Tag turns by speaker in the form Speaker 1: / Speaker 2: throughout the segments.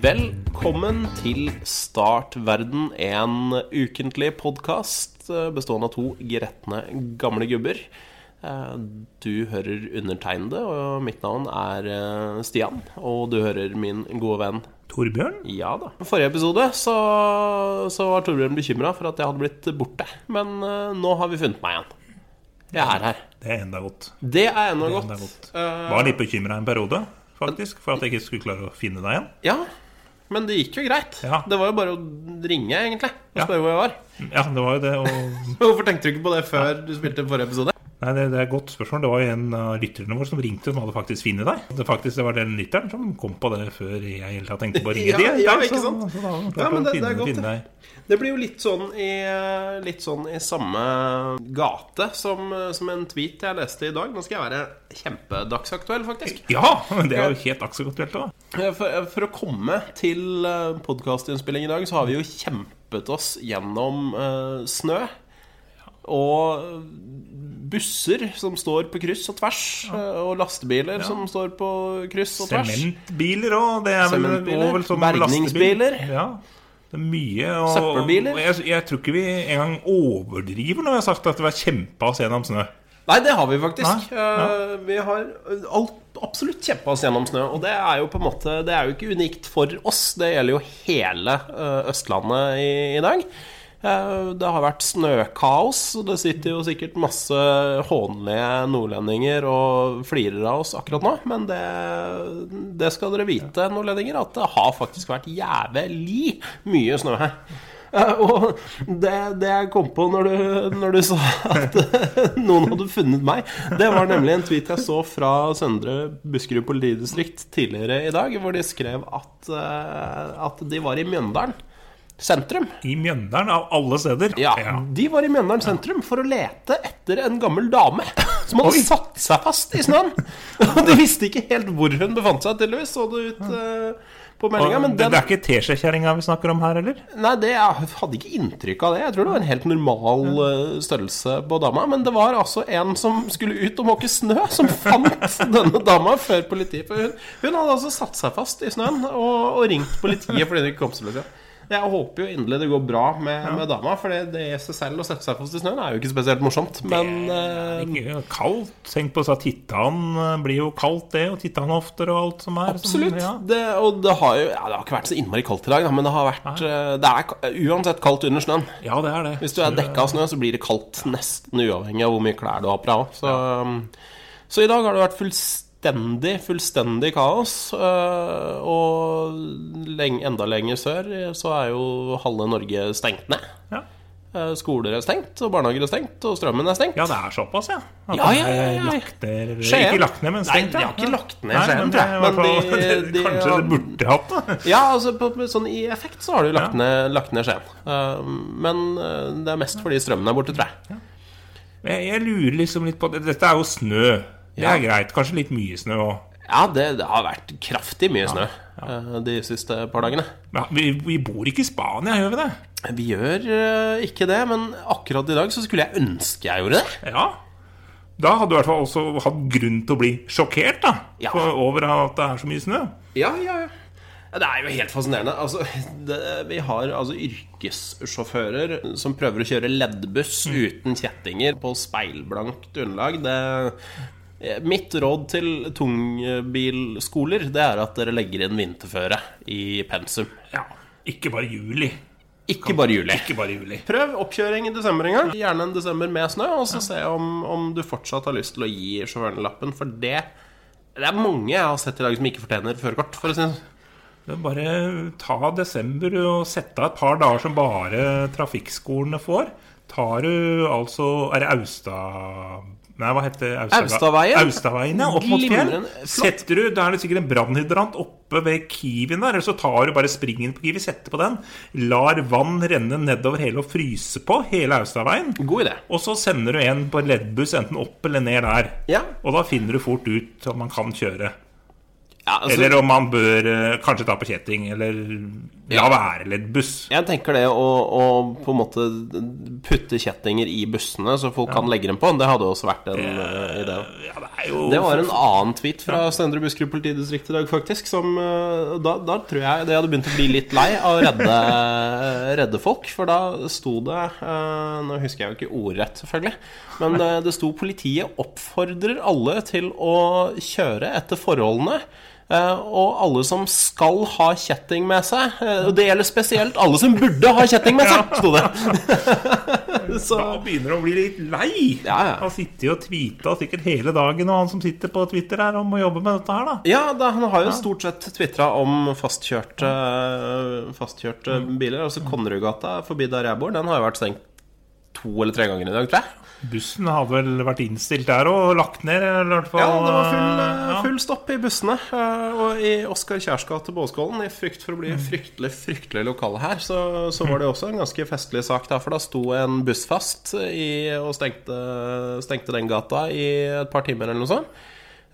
Speaker 1: Velkommen til Startverden, en ukentlig podkast bestående av to gretne gamle gubber. Eh, Du hører undertegnede, og mitt navn er eh, Stian. Og du hører min gode venn
Speaker 2: Torbjørn?
Speaker 1: Ja da. I forrige episode så, så var Torbjørn bekymra for at jeg hadde blitt borte. Men eh, nå har vi funnet meg igjen. Jeg er her.
Speaker 2: Det er enda godt.
Speaker 1: Det er ennå
Speaker 2: enda godt.
Speaker 1: godt. Eh,
Speaker 2: Var litt bekymra en periode, faktisk, for at jeg ikke skulle klare å finne deg igjen.
Speaker 1: Ja, men det gikk jo greit.
Speaker 2: Ja.
Speaker 1: Det var jo bare å ringe, egentlig, og
Speaker 2: Ja.
Speaker 1: spørre hvor jeg var.
Speaker 2: Ja, det var jo det, og
Speaker 1: Men Hvorfor tenkte du ikke på det før du spilte forrige episode?
Speaker 2: Nei, det, det er et godt spørsmål. Det var jo en av lytterne våre som ringte, som hadde faktisk funnet deg. Det, faktisk, det var den lytteren som kom på det før jeg i det hele tatt tenkte på å ringe
Speaker 1: Ja,
Speaker 2: deg.
Speaker 1: ja,
Speaker 2: Så-
Speaker 1: ikke sant?
Speaker 2: Så, da var det
Speaker 1: Ja,
Speaker 2: klart
Speaker 1: men
Speaker 2: å
Speaker 1: det- det er
Speaker 2: finne,
Speaker 1: godt,
Speaker 2: finne deg.
Speaker 1: Det blir jo litt sånn i, litt sånn i samme gate som, eh, som en tweet jeg leste i dag. Nå skal jeg være kjempedagsaktuell, faktisk. Eh,
Speaker 2: Ja, men det er jo helt aksjeaktuelt òg.
Speaker 1: For, for å komme til eh, podkastinnspilling i dag, så har vi jo kjempet oss gjennom eh, snø. Og busser som står på kryss og tvers, eh, og lastebiler som står på kryss og tvers.
Speaker 2: Sementbiler òg. Det er vel,
Speaker 1: Sementbiler,
Speaker 2: og vel sånn
Speaker 1: bergningsbiler.
Speaker 2: lastebil. Ja, det er mye. Og,
Speaker 1: Søppelbiler.
Speaker 2: og Jeg, jeg tror ikke vi engang overdriver når vi har sagt at det var kjempa oss gjennom snø.
Speaker 1: Nei, det har vi faktisk.
Speaker 2: Nei, ja.
Speaker 1: Eh, Vi har alt, absolutt kjempa oss gjennom snø. Og det er jo på en måte Det er jo ikke unikt for oss. Det gjelder jo hele eh, Østlandet i, i dag. Eh, Det har vært snøkaos. og Det sitter jo sikkert masse hånlige nordlendinger og flirer av oss akkurat nå. Men det, det skal dere vite, nordlendinger, at det har faktisk vært jævlig mye snø her. Eh, Og det, det jeg kom på når du, når du sa at noen hadde funnet meg, det var nemlig en tweet jeg så fra Søndre Buskerud politidistrikt tidligere i dag, hvor de skrev at, eh, at de var i Mjøndalen sentrum.
Speaker 2: I Mjøndalen, av alle steder.
Speaker 1: Ja, De var i Mjøndalen sentrum for å lete etter en gammel dame som hadde satt seg fast i snøen. Og de visste ikke helt hvor hun befant seg, tydeligvis, så det ut eh, på
Speaker 2: Og
Speaker 1: meldinga. Men
Speaker 2: det,
Speaker 1: den
Speaker 2: det er ikke teskjekjerringa vi snakker om her, eller?
Speaker 1: Nei, det, jeg hadde ikke inntrykk av det. Jeg tror det var en helt normal eh, størrelse på dama. Men det var altså en som skulle ut og måke snø, som fant denne dama før politiet. For hun, hun hadde altså satt seg fast i snøen og, og ringt politiet fordi hun ikke kom så langt. Jeg håper jo inderlig det går bra med, med dama, for det, det i seg selv å sette seg fast i snøen er jo ikke spesielt morsomt. Men eh,
Speaker 2: Ikke Kaldt. Tenk på så at Tittan eh, blir jo kaldt, det. Og Tittanhofter og alt som er.
Speaker 1: Absolutt.
Speaker 2: Som,
Speaker 1: Det, og det har jo ja, Det har ikke vært så innmari kaldt i dag, da, men det har vært eh, Det er ka- uansett kaldt under snøen.
Speaker 2: ja. ja, det er det.
Speaker 1: Hvis du er dekka av snø, så blir det kaldt nesten uavhengig av hvor mye klær du har på deg også. Så, så i dag har det vært fullstendig, fullstendig kaos. øh, Og leng, enda lenger sør så er jo halve Norge stengt ned.
Speaker 2: Ja.
Speaker 1: Eh, Skoler er stengt, og barnehager er stengt, og strømmen er stengt.
Speaker 2: ja, det er såpass, ja. At
Speaker 1: Ja, ja, ja,
Speaker 2: det er
Speaker 1: ja.
Speaker 2: Lagt ned, eller,
Speaker 1: Skien.
Speaker 2: Ikke lagt ned, men stengt.
Speaker 1: Nei, de
Speaker 2: ja.
Speaker 1: har ikke lagt ned
Speaker 2: Nei,
Speaker 1: Skien,
Speaker 2: men det er i hvert
Speaker 1: men
Speaker 2: fall-
Speaker 1: de-
Speaker 2: det-
Speaker 1: de
Speaker 2: Kanskje
Speaker 1: har-
Speaker 2: det burde hatt det.
Speaker 1: Ja, altså på, på, sånn i effekt så har du lagt
Speaker 2: Ja.
Speaker 1: ned, lagt ned Skien. Eh, Men eh, det er mest fordi strømmen er borte, tror jeg.
Speaker 2: Jeg, jeg lurer liksom litt på det. Dette er jo snø. Det
Speaker 1: Ja.
Speaker 2: er greit. Kanskje litt mye snø òg.
Speaker 1: Ja, det, det har vært kraftig mye snø eh, de siste par dagene.
Speaker 2: Ja, vi, vi bor ikke i Spania, gjør vi det?
Speaker 1: Vi gjør eh, ikke det, men akkurat i dag så skulle jeg ønske jeg gjorde det.
Speaker 2: Ja. Da hadde du i hvert fall også hatt grunn til å bli sjokkert da
Speaker 1: Ja.
Speaker 2: for- over at det er så mye snø.
Speaker 1: Ja, ja, ja. Det er jo helt fascinerende. Altså, det, vi har altså yrkessjåfører som prøver å kjøre leddbuss uten kjettinger på speilblankt underlag. Det, eh, mitt råd til tungbilskoler det er at dere legger inn vinterføre i pensum.
Speaker 2: Ja, Ikke bare juli.
Speaker 1: Ikke bare juli.
Speaker 2: Ikke bare juli.
Speaker 1: Prøv oppkjøring i desember en gang. Gjerne en desember med snø, og så se om, om du fortsatt har lyst til å gi sjåføren lappen, for det det er mange jeg har sett i dag som ikke fortjener førerkort. For å si. det sånn.
Speaker 2: Det er Bare ta desember og sette av et par dager som bare trafikkskolene får. Tar du altså Er det Austa... Nei, hva heter det?
Speaker 1: Austaveien?
Speaker 2: Austaveien, ja. Opp mot fjell.
Speaker 1: Glimrende. Flott.
Speaker 2: Setter du, Da er det sikkert en brannhydrant oppe ved Kiwien der. Eller så tar du bare springen på Kiwi, setter på den, lar vann renne nedover hele og fryse på hele Austaveien.
Speaker 1: God idé.
Speaker 2: Og så sender du en på en leddbuss enten opp eller ned der.
Speaker 1: Ja.
Speaker 2: Og da finner du fort ut om man kan kjøre.
Speaker 1: Ja, altså-
Speaker 2: eller om man bør eh, kanskje ta på kjetting, eller la være, eller buss.
Speaker 1: Jeg tenker det å, å på en måte putte kjettinger i bussene, så folk kan legge dem på, det hadde også vært en eh, idé.
Speaker 2: Ja, det er jo
Speaker 1: Det var en annen tweet fra Søndre Buskerud politidistrikt i dag, faktisk. Som, eh, da, da tror jeg det hadde begynt å bli litt lei av å redde, eh, redde folk. For da sto det eh, Nå husker jeg jo ikke ordrett, selvfølgelig. Men eh, det sto 'Politiet oppfordrer alle til å kjøre etter forholdene'. eh, og alle som skal ha kjetting med seg. eh, Og det gjelder spesielt alle som burde ha kjetting med seg, sto det. Så
Speaker 2: Da begynner du å bli litt lei.
Speaker 1: Ja, ja.
Speaker 2: Han sitter jo og tweeter sikkert hele dagen, og han som sitter på Twitter her, om å jobbe med dette her, da.
Speaker 1: Ja, da, han har jo stort sett tvitra om fastkjørte, fastkjørte biler. Altså Konnerudgata forbi der jeg bor, den har jo vært stengt to eller tre ganger i dag, tror jeg.
Speaker 2: Bussen hadde vel vært innstilt der og lagt ned, eller i hvert fall
Speaker 1: Ja, det var full, eh.
Speaker 2: ja.
Speaker 1: full stopp i bussene. eh, Og i Oskar Kjærs gate på Åskollen, i frykt for å bli fryktelig fryktelig lokale her, så, så var det også en ganske festlig sak der. For da sto en buss fast i, og stengte, stengte den gata i et par timer eller noe sånt.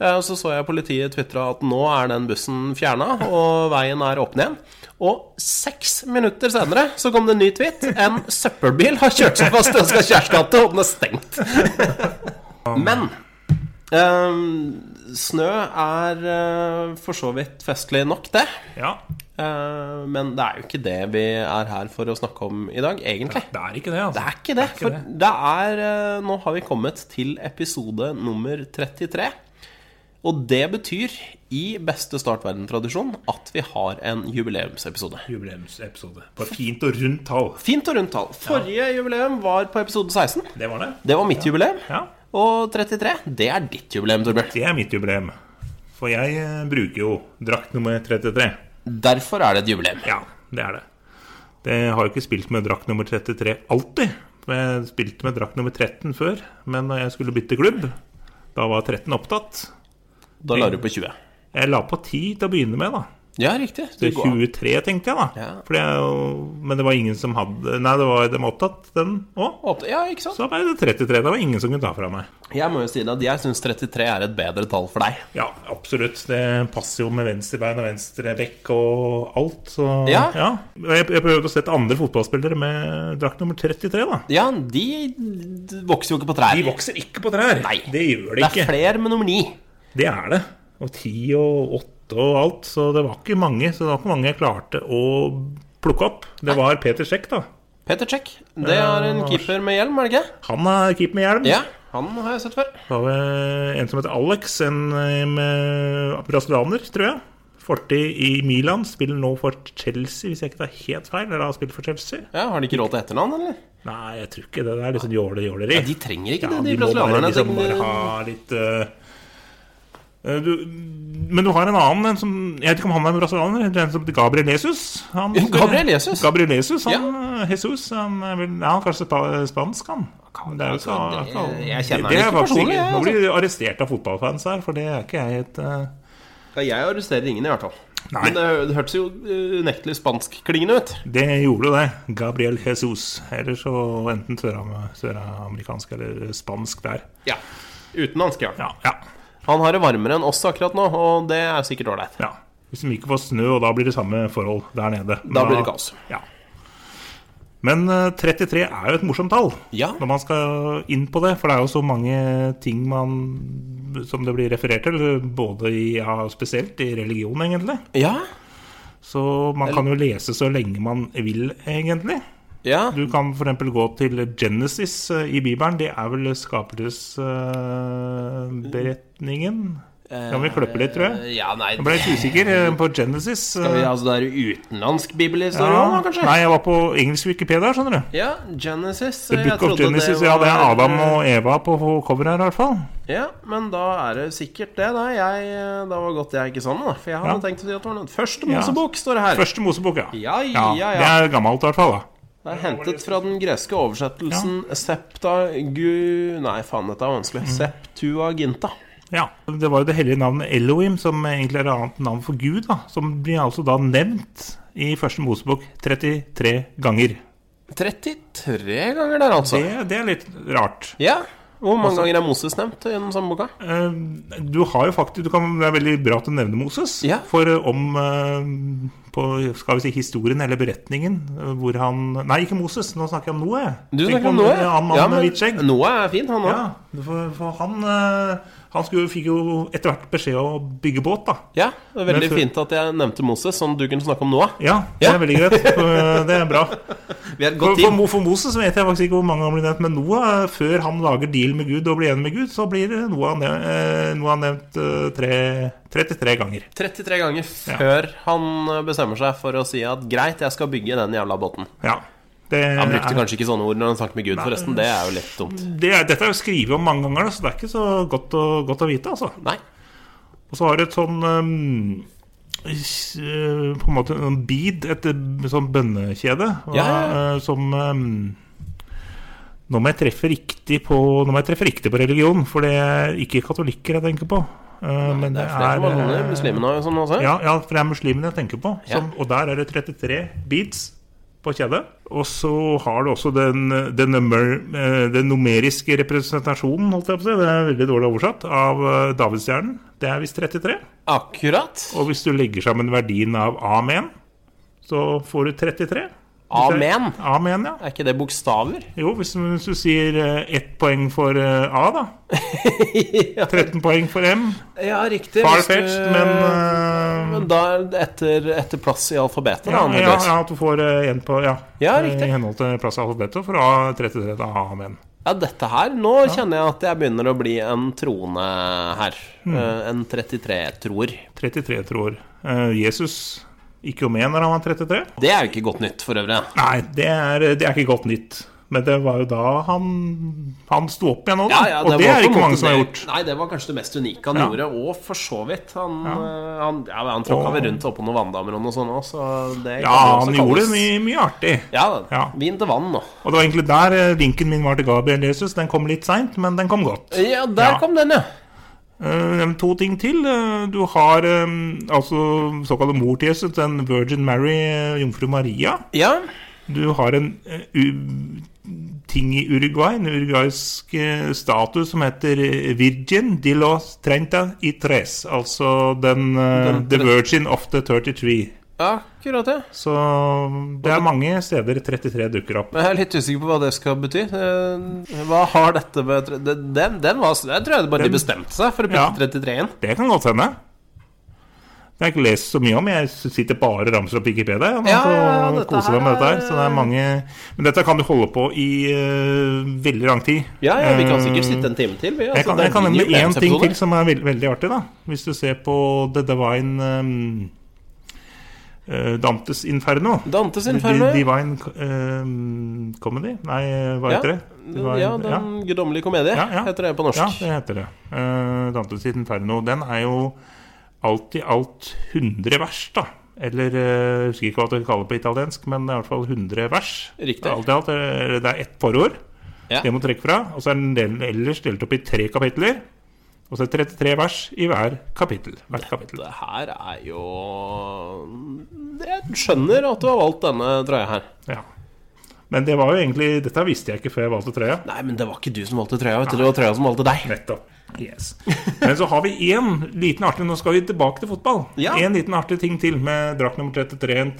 Speaker 1: Eh, Og så så jeg politiet twitra at nå er den bussen fjerna, og veien er åpen igjen. Og seks minutter senere så kom det en ny tweet. En søppelbil har kjørt seg fast i Ønska kjærskapet, og den er stengt. Men eh, snø er eh, for så vidt festlig nok, det.
Speaker 2: Ja,
Speaker 1: Eh, men det er jo ikke det vi er her for å snakke om i dag, egentlig.
Speaker 2: det er ikke det, altså.
Speaker 1: Det er ikke det. For
Speaker 2: det.
Speaker 1: det er eh, Nå har vi kommet til episode nummer 33. Og det betyr, i beste Startverden-tradisjon, at vi har en jubileumsepisode.
Speaker 2: Jubileumsepisode på et fint og rundt tall.
Speaker 1: Fint og rundt tall. Forrige jubileum var på episode 16.
Speaker 2: Det var det.
Speaker 1: Det var mitt jubileum.
Speaker 2: Ja,
Speaker 1: Og 33, det er ditt jubileum, Torbjørn.
Speaker 2: det er mitt jubileum. For jeg eh, bruker jo drakt nummer 33.
Speaker 1: Derfor er det et jubileum.
Speaker 2: Ja, det er det. Det har jo ikke spilt med drakt nummer 33 alltid. Jeg spilte med drakt nummer 13 før, men når jeg skulle bytte klubb, da var 13 opptatt.
Speaker 1: Da la du på 20.
Speaker 2: Jeg la på 10 til å begynne med, da.
Speaker 1: Ja, riktig. Du
Speaker 2: Til
Speaker 1: går.
Speaker 2: 23, tenkte jeg, da.
Speaker 1: Ja.
Speaker 2: For det er jo- men det var ingen som hadde Nei, det var, de var opptatt, den òg.
Speaker 1: Åpne- Ja, ikke sant?
Speaker 2: Så ble det 33. Det var ingen som kunne ta fra meg.
Speaker 1: Jeg må jo si det at jeg syns 33 er et bedre tall for deg.
Speaker 2: Ja, absolutt. Det passer jo med venstrebein og venstre bekk og alt. Så
Speaker 1: Ja.
Speaker 2: Og Jeg, jeg prøvde å sette andre fotballspillere med drakt nummer 33, da.
Speaker 1: Ja, de d- vokser jo ikke på trær.
Speaker 2: De vokser ikke på trær.
Speaker 1: Nei.
Speaker 2: Det gjør de
Speaker 1: Det
Speaker 2: ikke.
Speaker 1: er flere med nummer ni.
Speaker 2: Det er det. Og ti og åtte og alt. Så det var ikke mange. Så det var ikke mange jeg klarte å plukke opp. Det var Peter Sjekk, da.
Speaker 1: Peter Check. Det er en keeper med hjelm, er det ikke?
Speaker 2: Han er keeper med hjelm.
Speaker 1: Ja, han har jeg sett før.
Speaker 2: Det var vel en som heter Alex, en eh, med brasilianer, tror jeg. Fortid i Milan. Spiller nå for Chelsea, hvis jeg ikke tar helt feil. Eller har spilt for Chelsea.
Speaker 1: Ja, Har de ikke råd til etternavn, eller?
Speaker 2: Nei, jeg tror ikke det. Det er litt sånn jåle-jåleri.
Speaker 1: De trenger
Speaker 2: Ja,
Speaker 1: ikke det,
Speaker 2: de
Speaker 1: de
Speaker 2: må bare
Speaker 1: brasilianerne.
Speaker 2: liksom bare
Speaker 1: Det-
Speaker 2: ha litt eh, eh, du, Men du har en annen en som Jeg vet ikke om han er brasilianer. En som heter Gabriel Jesus. Han,
Speaker 1: Gabriel Jesus?
Speaker 2: Gabriel Jesus, han, eh, Jesus, han er vel ja, han er kanskje spa- spansk, han. Det er jo ikke,
Speaker 1: altså, det-
Speaker 2: ikke alle.
Speaker 1: jeg
Speaker 2: Det- det
Speaker 1: kjenner han
Speaker 2: er
Speaker 1: ikke
Speaker 2: faktisk
Speaker 1: personlig, jeg, altså.
Speaker 2: Nå blir du arrestert av fotballfans her, for det er ikke jeg et eh,
Speaker 1: Ja, jeg arresterer ingen, i hvert fall.
Speaker 2: Nei.
Speaker 1: Men det, det hørtes jo eh, unektelig spanskklingende ut.
Speaker 2: Det gjorde jo det. Gabriel Jesus. Eller så enten søram- søramerikansk eller spansk der.
Speaker 1: Ja. Utenlandsk, ja.
Speaker 2: Ja, ja,
Speaker 1: Han har det varmere enn oss akkurat nå, og det er sikkert ålreit.
Speaker 2: ja. Hvis de ikke får snø, og da blir det samme forhold der nede. Men
Speaker 1: Da blir det kaos.
Speaker 2: Ja. Men eh, 33 er jo et morsomt tall
Speaker 1: Ja.
Speaker 2: når man skal inn på det. For det er jo så mange ting man som det blir referert til, både i, ja, spesielt i religion, egentlig.
Speaker 1: Ja.
Speaker 2: Så man kan jo lese så lenge man vil, egentlig.
Speaker 1: ja.
Speaker 2: Du kan f.eks. gå til Genesis eh, i Bibelen. Det er vel eh, skapelsesberetningen? kan vi klippe litt, tror jeg.
Speaker 1: Eh, Ja, nei
Speaker 2: Jeg ble litt usikker eh, på Genesis.
Speaker 1: vi,
Speaker 2: eh,
Speaker 1: altså, Det er utenlandsk bibelhistorie
Speaker 2: ja.
Speaker 1: òg, kanskje?
Speaker 2: Nei, jeg var på engelsk Wikipedia, skjønner du.
Speaker 1: Ja, Genesis.
Speaker 2: The
Speaker 1: jeg
Speaker 2: Book of
Speaker 1: trodde
Speaker 2: Genesis, ja, det er
Speaker 1: var- eh,
Speaker 2: Adam og Eva på coveret her i hvert fall.
Speaker 1: Ja, men da er det sikkert det, da. Jeg, eh, da var godt jeg ikke sa noe, da. For jeg hadde
Speaker 2: Ja.
Speaker 1: tenkt å si at det var noe. Første Mosebok står det her.
Speaker 2: Første Mosebok, ja.
Speaker 1: Ja, ja, ja.
Speaker 2: Det er gammelt i hvert fall, da.
Speaker 1: Det er hentet fra den greske oversettelsen septa gu... Nei, faen, dette er vanskelig.
Speaker 2: Mm.
Speaker 1: Septuaginta.
Speaker 2: Ja, Det var jo det hellige navnet Elohim, som egentlig er et annet navn for Gud, da. Som blir altså da nevnt i Første Mosebok 33 ganger.
Speaker 1: 33 ganger der, altså.
Speaker 2: Det, det er litt rart.
Speaker 1: Ja. Hvor mange ganger er Moses nevnt gjennom samme boka?
Speaker 2: Eh, Du har jo faktisk du kan, Det er veldig bra at du nevner Moses.
Speaker 1: Ja.
Speaker 2: For eh, om eh, på, Skal vi si historien eller beretningen eh, hvor han Nei, ikke Moses, nå snakker jeg om Noah. jeg.
Speaker 1: Du
Speaker 2: Tenk
Speaker 1: snakker om
Speaker 2: på
Speaker 1: Noah.
Speaker 2: Han han mannen med hvitt skjegg.
Speaker 1: Noah er fin, han òg.
Speaker 2: Ja, for, for han, eh, han skulle, fikk jo etter hvert beskjed om å bygge båt, da.
Speaker 1: Ja. det er veldig
Speaker 2: Men før-
Speaker 1: fint at jeg nevnte Moses, sånn at du kunne snakke om Noah.
Speaker 2: Ja, det
Speaker 1: Ja.
Speaker 2: er veldig greit. for eh, Det er bra.
Speaker 1: Vi er et
Speaker 2: For,
Speaker 1: godt
Speaker 2: for,
Speaker 1: team.
Speaker 2: Mo- for Moses vet jeg faktisk ikke hvor mange han blir nevnt, men Noah, eh, før han lager deal med Gud og blir enig med Gud, så blir eh, Noah, nev- eh, Noah nevnt eh, tre, 33 ganger.
Speaker 1: 33 ganger før han eh, bestemmer seg for å si at greit, jeg skal bygge den jævla båten.
Speaker 2: Ja. Det,
Speaker 1: Han brukte
Speaker 2: er,
Speaker 1: kanskje ikke sånne ord når han snakket med Gud, forresten. Det er jo litt dumt.
Speaker 2: det er, dette er jo skrevet om mange ganger, da, så det er ikke så godt å, godt å vite. Altså.
Speaker 1: Nei.
Speaker 2: Og så har du et sånn um, s- eh, På en måte en bead, et eh, sånn bønnekjede, hva-
Speaker 1: Ja, ja,
Speaker 2: eh, som um, Nå må jeg treffe riktig på Nå må jeg treffe riktig på religion, for det er ikke katolikker jeg tenker på. Eh, men
Speaker 1: Det er flere mormoner,
Speaker 2: eh,
Speaker 1: muslimene og sånn også.
Speaker 2: Ja, ja, for det er muslimene jeg tenker på.
Speaker 1: Ja.
Speaker 2: Som, og der er det 33 beats på kjedet. Og så har du også den, den, nummer, eh, den numeriske representasjonen, holdt jeg på å si. Det er veldig dårlig oversatt. Av eh, davidsstjernen. Det er visst 33.
Speaker 1: Akkurat.
Speaker 2: Og hvis du legger sammen verdien av amen, så får du 33. Hvis det er-
Speaker 1: Amen.
Speaker 2: Amen, ja.
Speaker 1: Er ikke det bokstaver?
Speaker 2: Jo, hvis, du- hvis du sier eh, ett poeng for eh, A, da. 13 poeng for M.
Speaker 1: Ja, riktig. hvis du-
Speaker 2: Farfetched, men eh,
Speaker 1: Men da er det etter, etter plass i alfabetet, da.
Speaker 2: Ja, ja,
Speaker 1: antageligvis.
Speaker 2: ja, at du får eh, en på Ja,
Speaker 1: Ja, riktig.
Speaker 2: i henhold til plass i alfabetet for A33 til A-menn.
Speaker 1: Ja, dette her Nå kjenner jeg at jeg begynner å bli en troende her.
Speaker 2: Mm.
Speaker 1: Eh, En 33-troer.
Speaker 2: 33 tror eh, Jesus gikk jo med når han var 33.
Speaker 1: Det er jo ikke godt nytt, for øvrig.
Speaker 2: Nei, det er, det er ikke godt nytt. Men det var jo da han, han sto opp igjen nå, da. og det
Speaker 1: var
Speaker 2: er
Speaker 1: på en
Speaker 2: ikke
Speaker 1: måte
Speaker 2: mange som har
Speaker 1: det-
Speaker 2: gjort.
Speaker 1: Nei, det var kanskje det mest unike han
Speaker 2: Ja.
Speaker 1: gjorde, og for så vidt. Han, eh, han, ja, men han tråkka
Speaker 2: Og-
Speaker 1: vel rundt oppå noen vanndammer og noe sånt òg, så det
Speaker 2: Ja,
Speaker 1: kan jo også
Speaker 2: han gjorde
Speaker 1: kalles-
Speaker 2: mye, mye artig.
Speaker 1: Ja,
Speaker 2: Ja.
Speaker 1: Vin til vann nå.
Speaker 2: Og det var egentlig der eh, linken min var til Gabriel Jesus. Den kom litt seint, men den kom godt.
Speaker 1: Ja, der
Speaker 2: Ja.
Speaker 1: kom den, ja.
Speaker 2: Eh, nevn to ting til. Eh, Du har eh, altså såkalte mor til Jesus, den Virgin Mary, eh, jomfru Maria.
Speaker 1: Ja,
Speaker 2: Du har en eh, u ting i Uruguay, en uruguaysk eh, status som heter eh, Virgin de los trenta i tres. Altså den, eh,
Speaker 1: Den
Speaker 2: The
Speaker 1: tre-
Speaker 2: Virgin of the 33.
Speaker 1: akkurat det.
Speaker 2: Så det er mange steder 33 dukker opp.
Speaker 1: Men jeg er litt usikker på hva det skal bety. Eh, Hva har dette med tre- Den, den, den var Jeg tror jeg bare de
Speaker 2: Den-
Speaker 1: bestemte seg for å
Speaker 2: Ja.
Speaker 1: putte 33 inn.
Speaker 2: Det kan godt hende. Det har jeg ikke lest så mye om. Jeg sitter bare og ramser opp Wikipedia jeg, nå,
Speaker 1: Ja,
Speaker 2: og
Speaker 1: ja, ja, dette
Speaker 2: koser meg med
Speaker 1: her
Speaker 2: dette her.
Speaker 1: er-
Speaker 2: Så det er mange Men dette kan du holde på i eh, veldig lang tid.
Speaker 1: Ja, ja, vi kan
Speaker 2: Eh,
Speaker 1: sikkert sitte en time til. Vi,
Speaker 2: Jeg
Speaker 1: altså,
Speaker 2: kan,
Speaker 1: det er
Speaker 2: jeg kan
Speaker 1: en
Speaker 2: nevne én ting
Speaker 1: jubileumsepisode.
Speaker 2: til som er veld, veldig artig. da Hvis du ser på The Divine um, eh, Dantes Inferno.
Speaker 1: Dantes Inferno.
Speaker 2: Di- Divine um, Comedy? Nei, hva heter det? Divine,
Speaker 1: ja, Den guddommelige komedie
Speaker 2: Ja, ja.
Speaker 1: heter det på norsk.
Speaker 2: ja, det heter det. Eh, Dantes Inferno. Den er jo alt i alt 100 vers, da. Eller eh, jeg husker ikke hva de kaller det på italiensk, men det er i hvert fall 100 vers.
Speaker 1: Riktig.
Speaker 2: Det er, alt i alt, eh, det er ett forord.
Speaker 1: Ja.
Speaker 2: Det må trekke fra. Og så er den del- ellers delt opp i tre kapitler. Og så er det 33 vers i hver kapittel. Hvert kapittel.
Speaker 1: Det her er jo Jeg skjønner at du har valgt denne trøya her.
Speaker 2: Ja. Men det var jo egentlig Dette visste jeg ikke før jeg valgte trøya.
Speaker 1: Nei, men det var ikke du som valgte trøya, vet du. Det var trøya som valgte deg.
Speaker 2: Nettopp. Yes. Men så har vi én liten artig Nå skal vi tilbake til fotball.
Speaker 1: Ja.
Speaker 2: En liten artig ting til med drakt nummer 33. En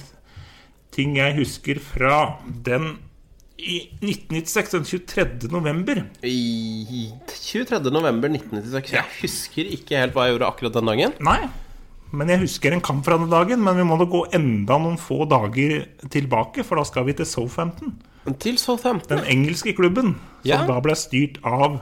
Speaker 2: ting jeg husker fra den i 1996, den 23. november.
Speaker 1: I 23. november 1996. Jeg husker ikke helt hva jeg gjorde akkurat den dagen.
Speaker 2: Nei, men jeg husker en kamp fra den dagen. Men vi må da gå enda noen få dager tilbake, for da skal vi til Southampton.
Speaker 1: Men Til Southampton.
Speaker 2: Den engelske klubben som
Speaker 1: Ja.
Speaker 2: da ble styrt av